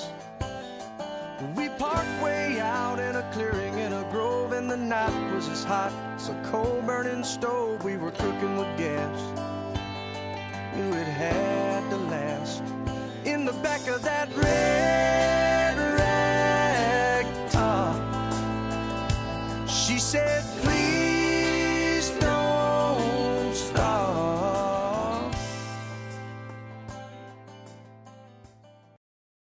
C: We parked way out in a clearing in a grove, and the night was as hot as a coal burning stove. We were cooking with gas, knew it had to last. In the back of that red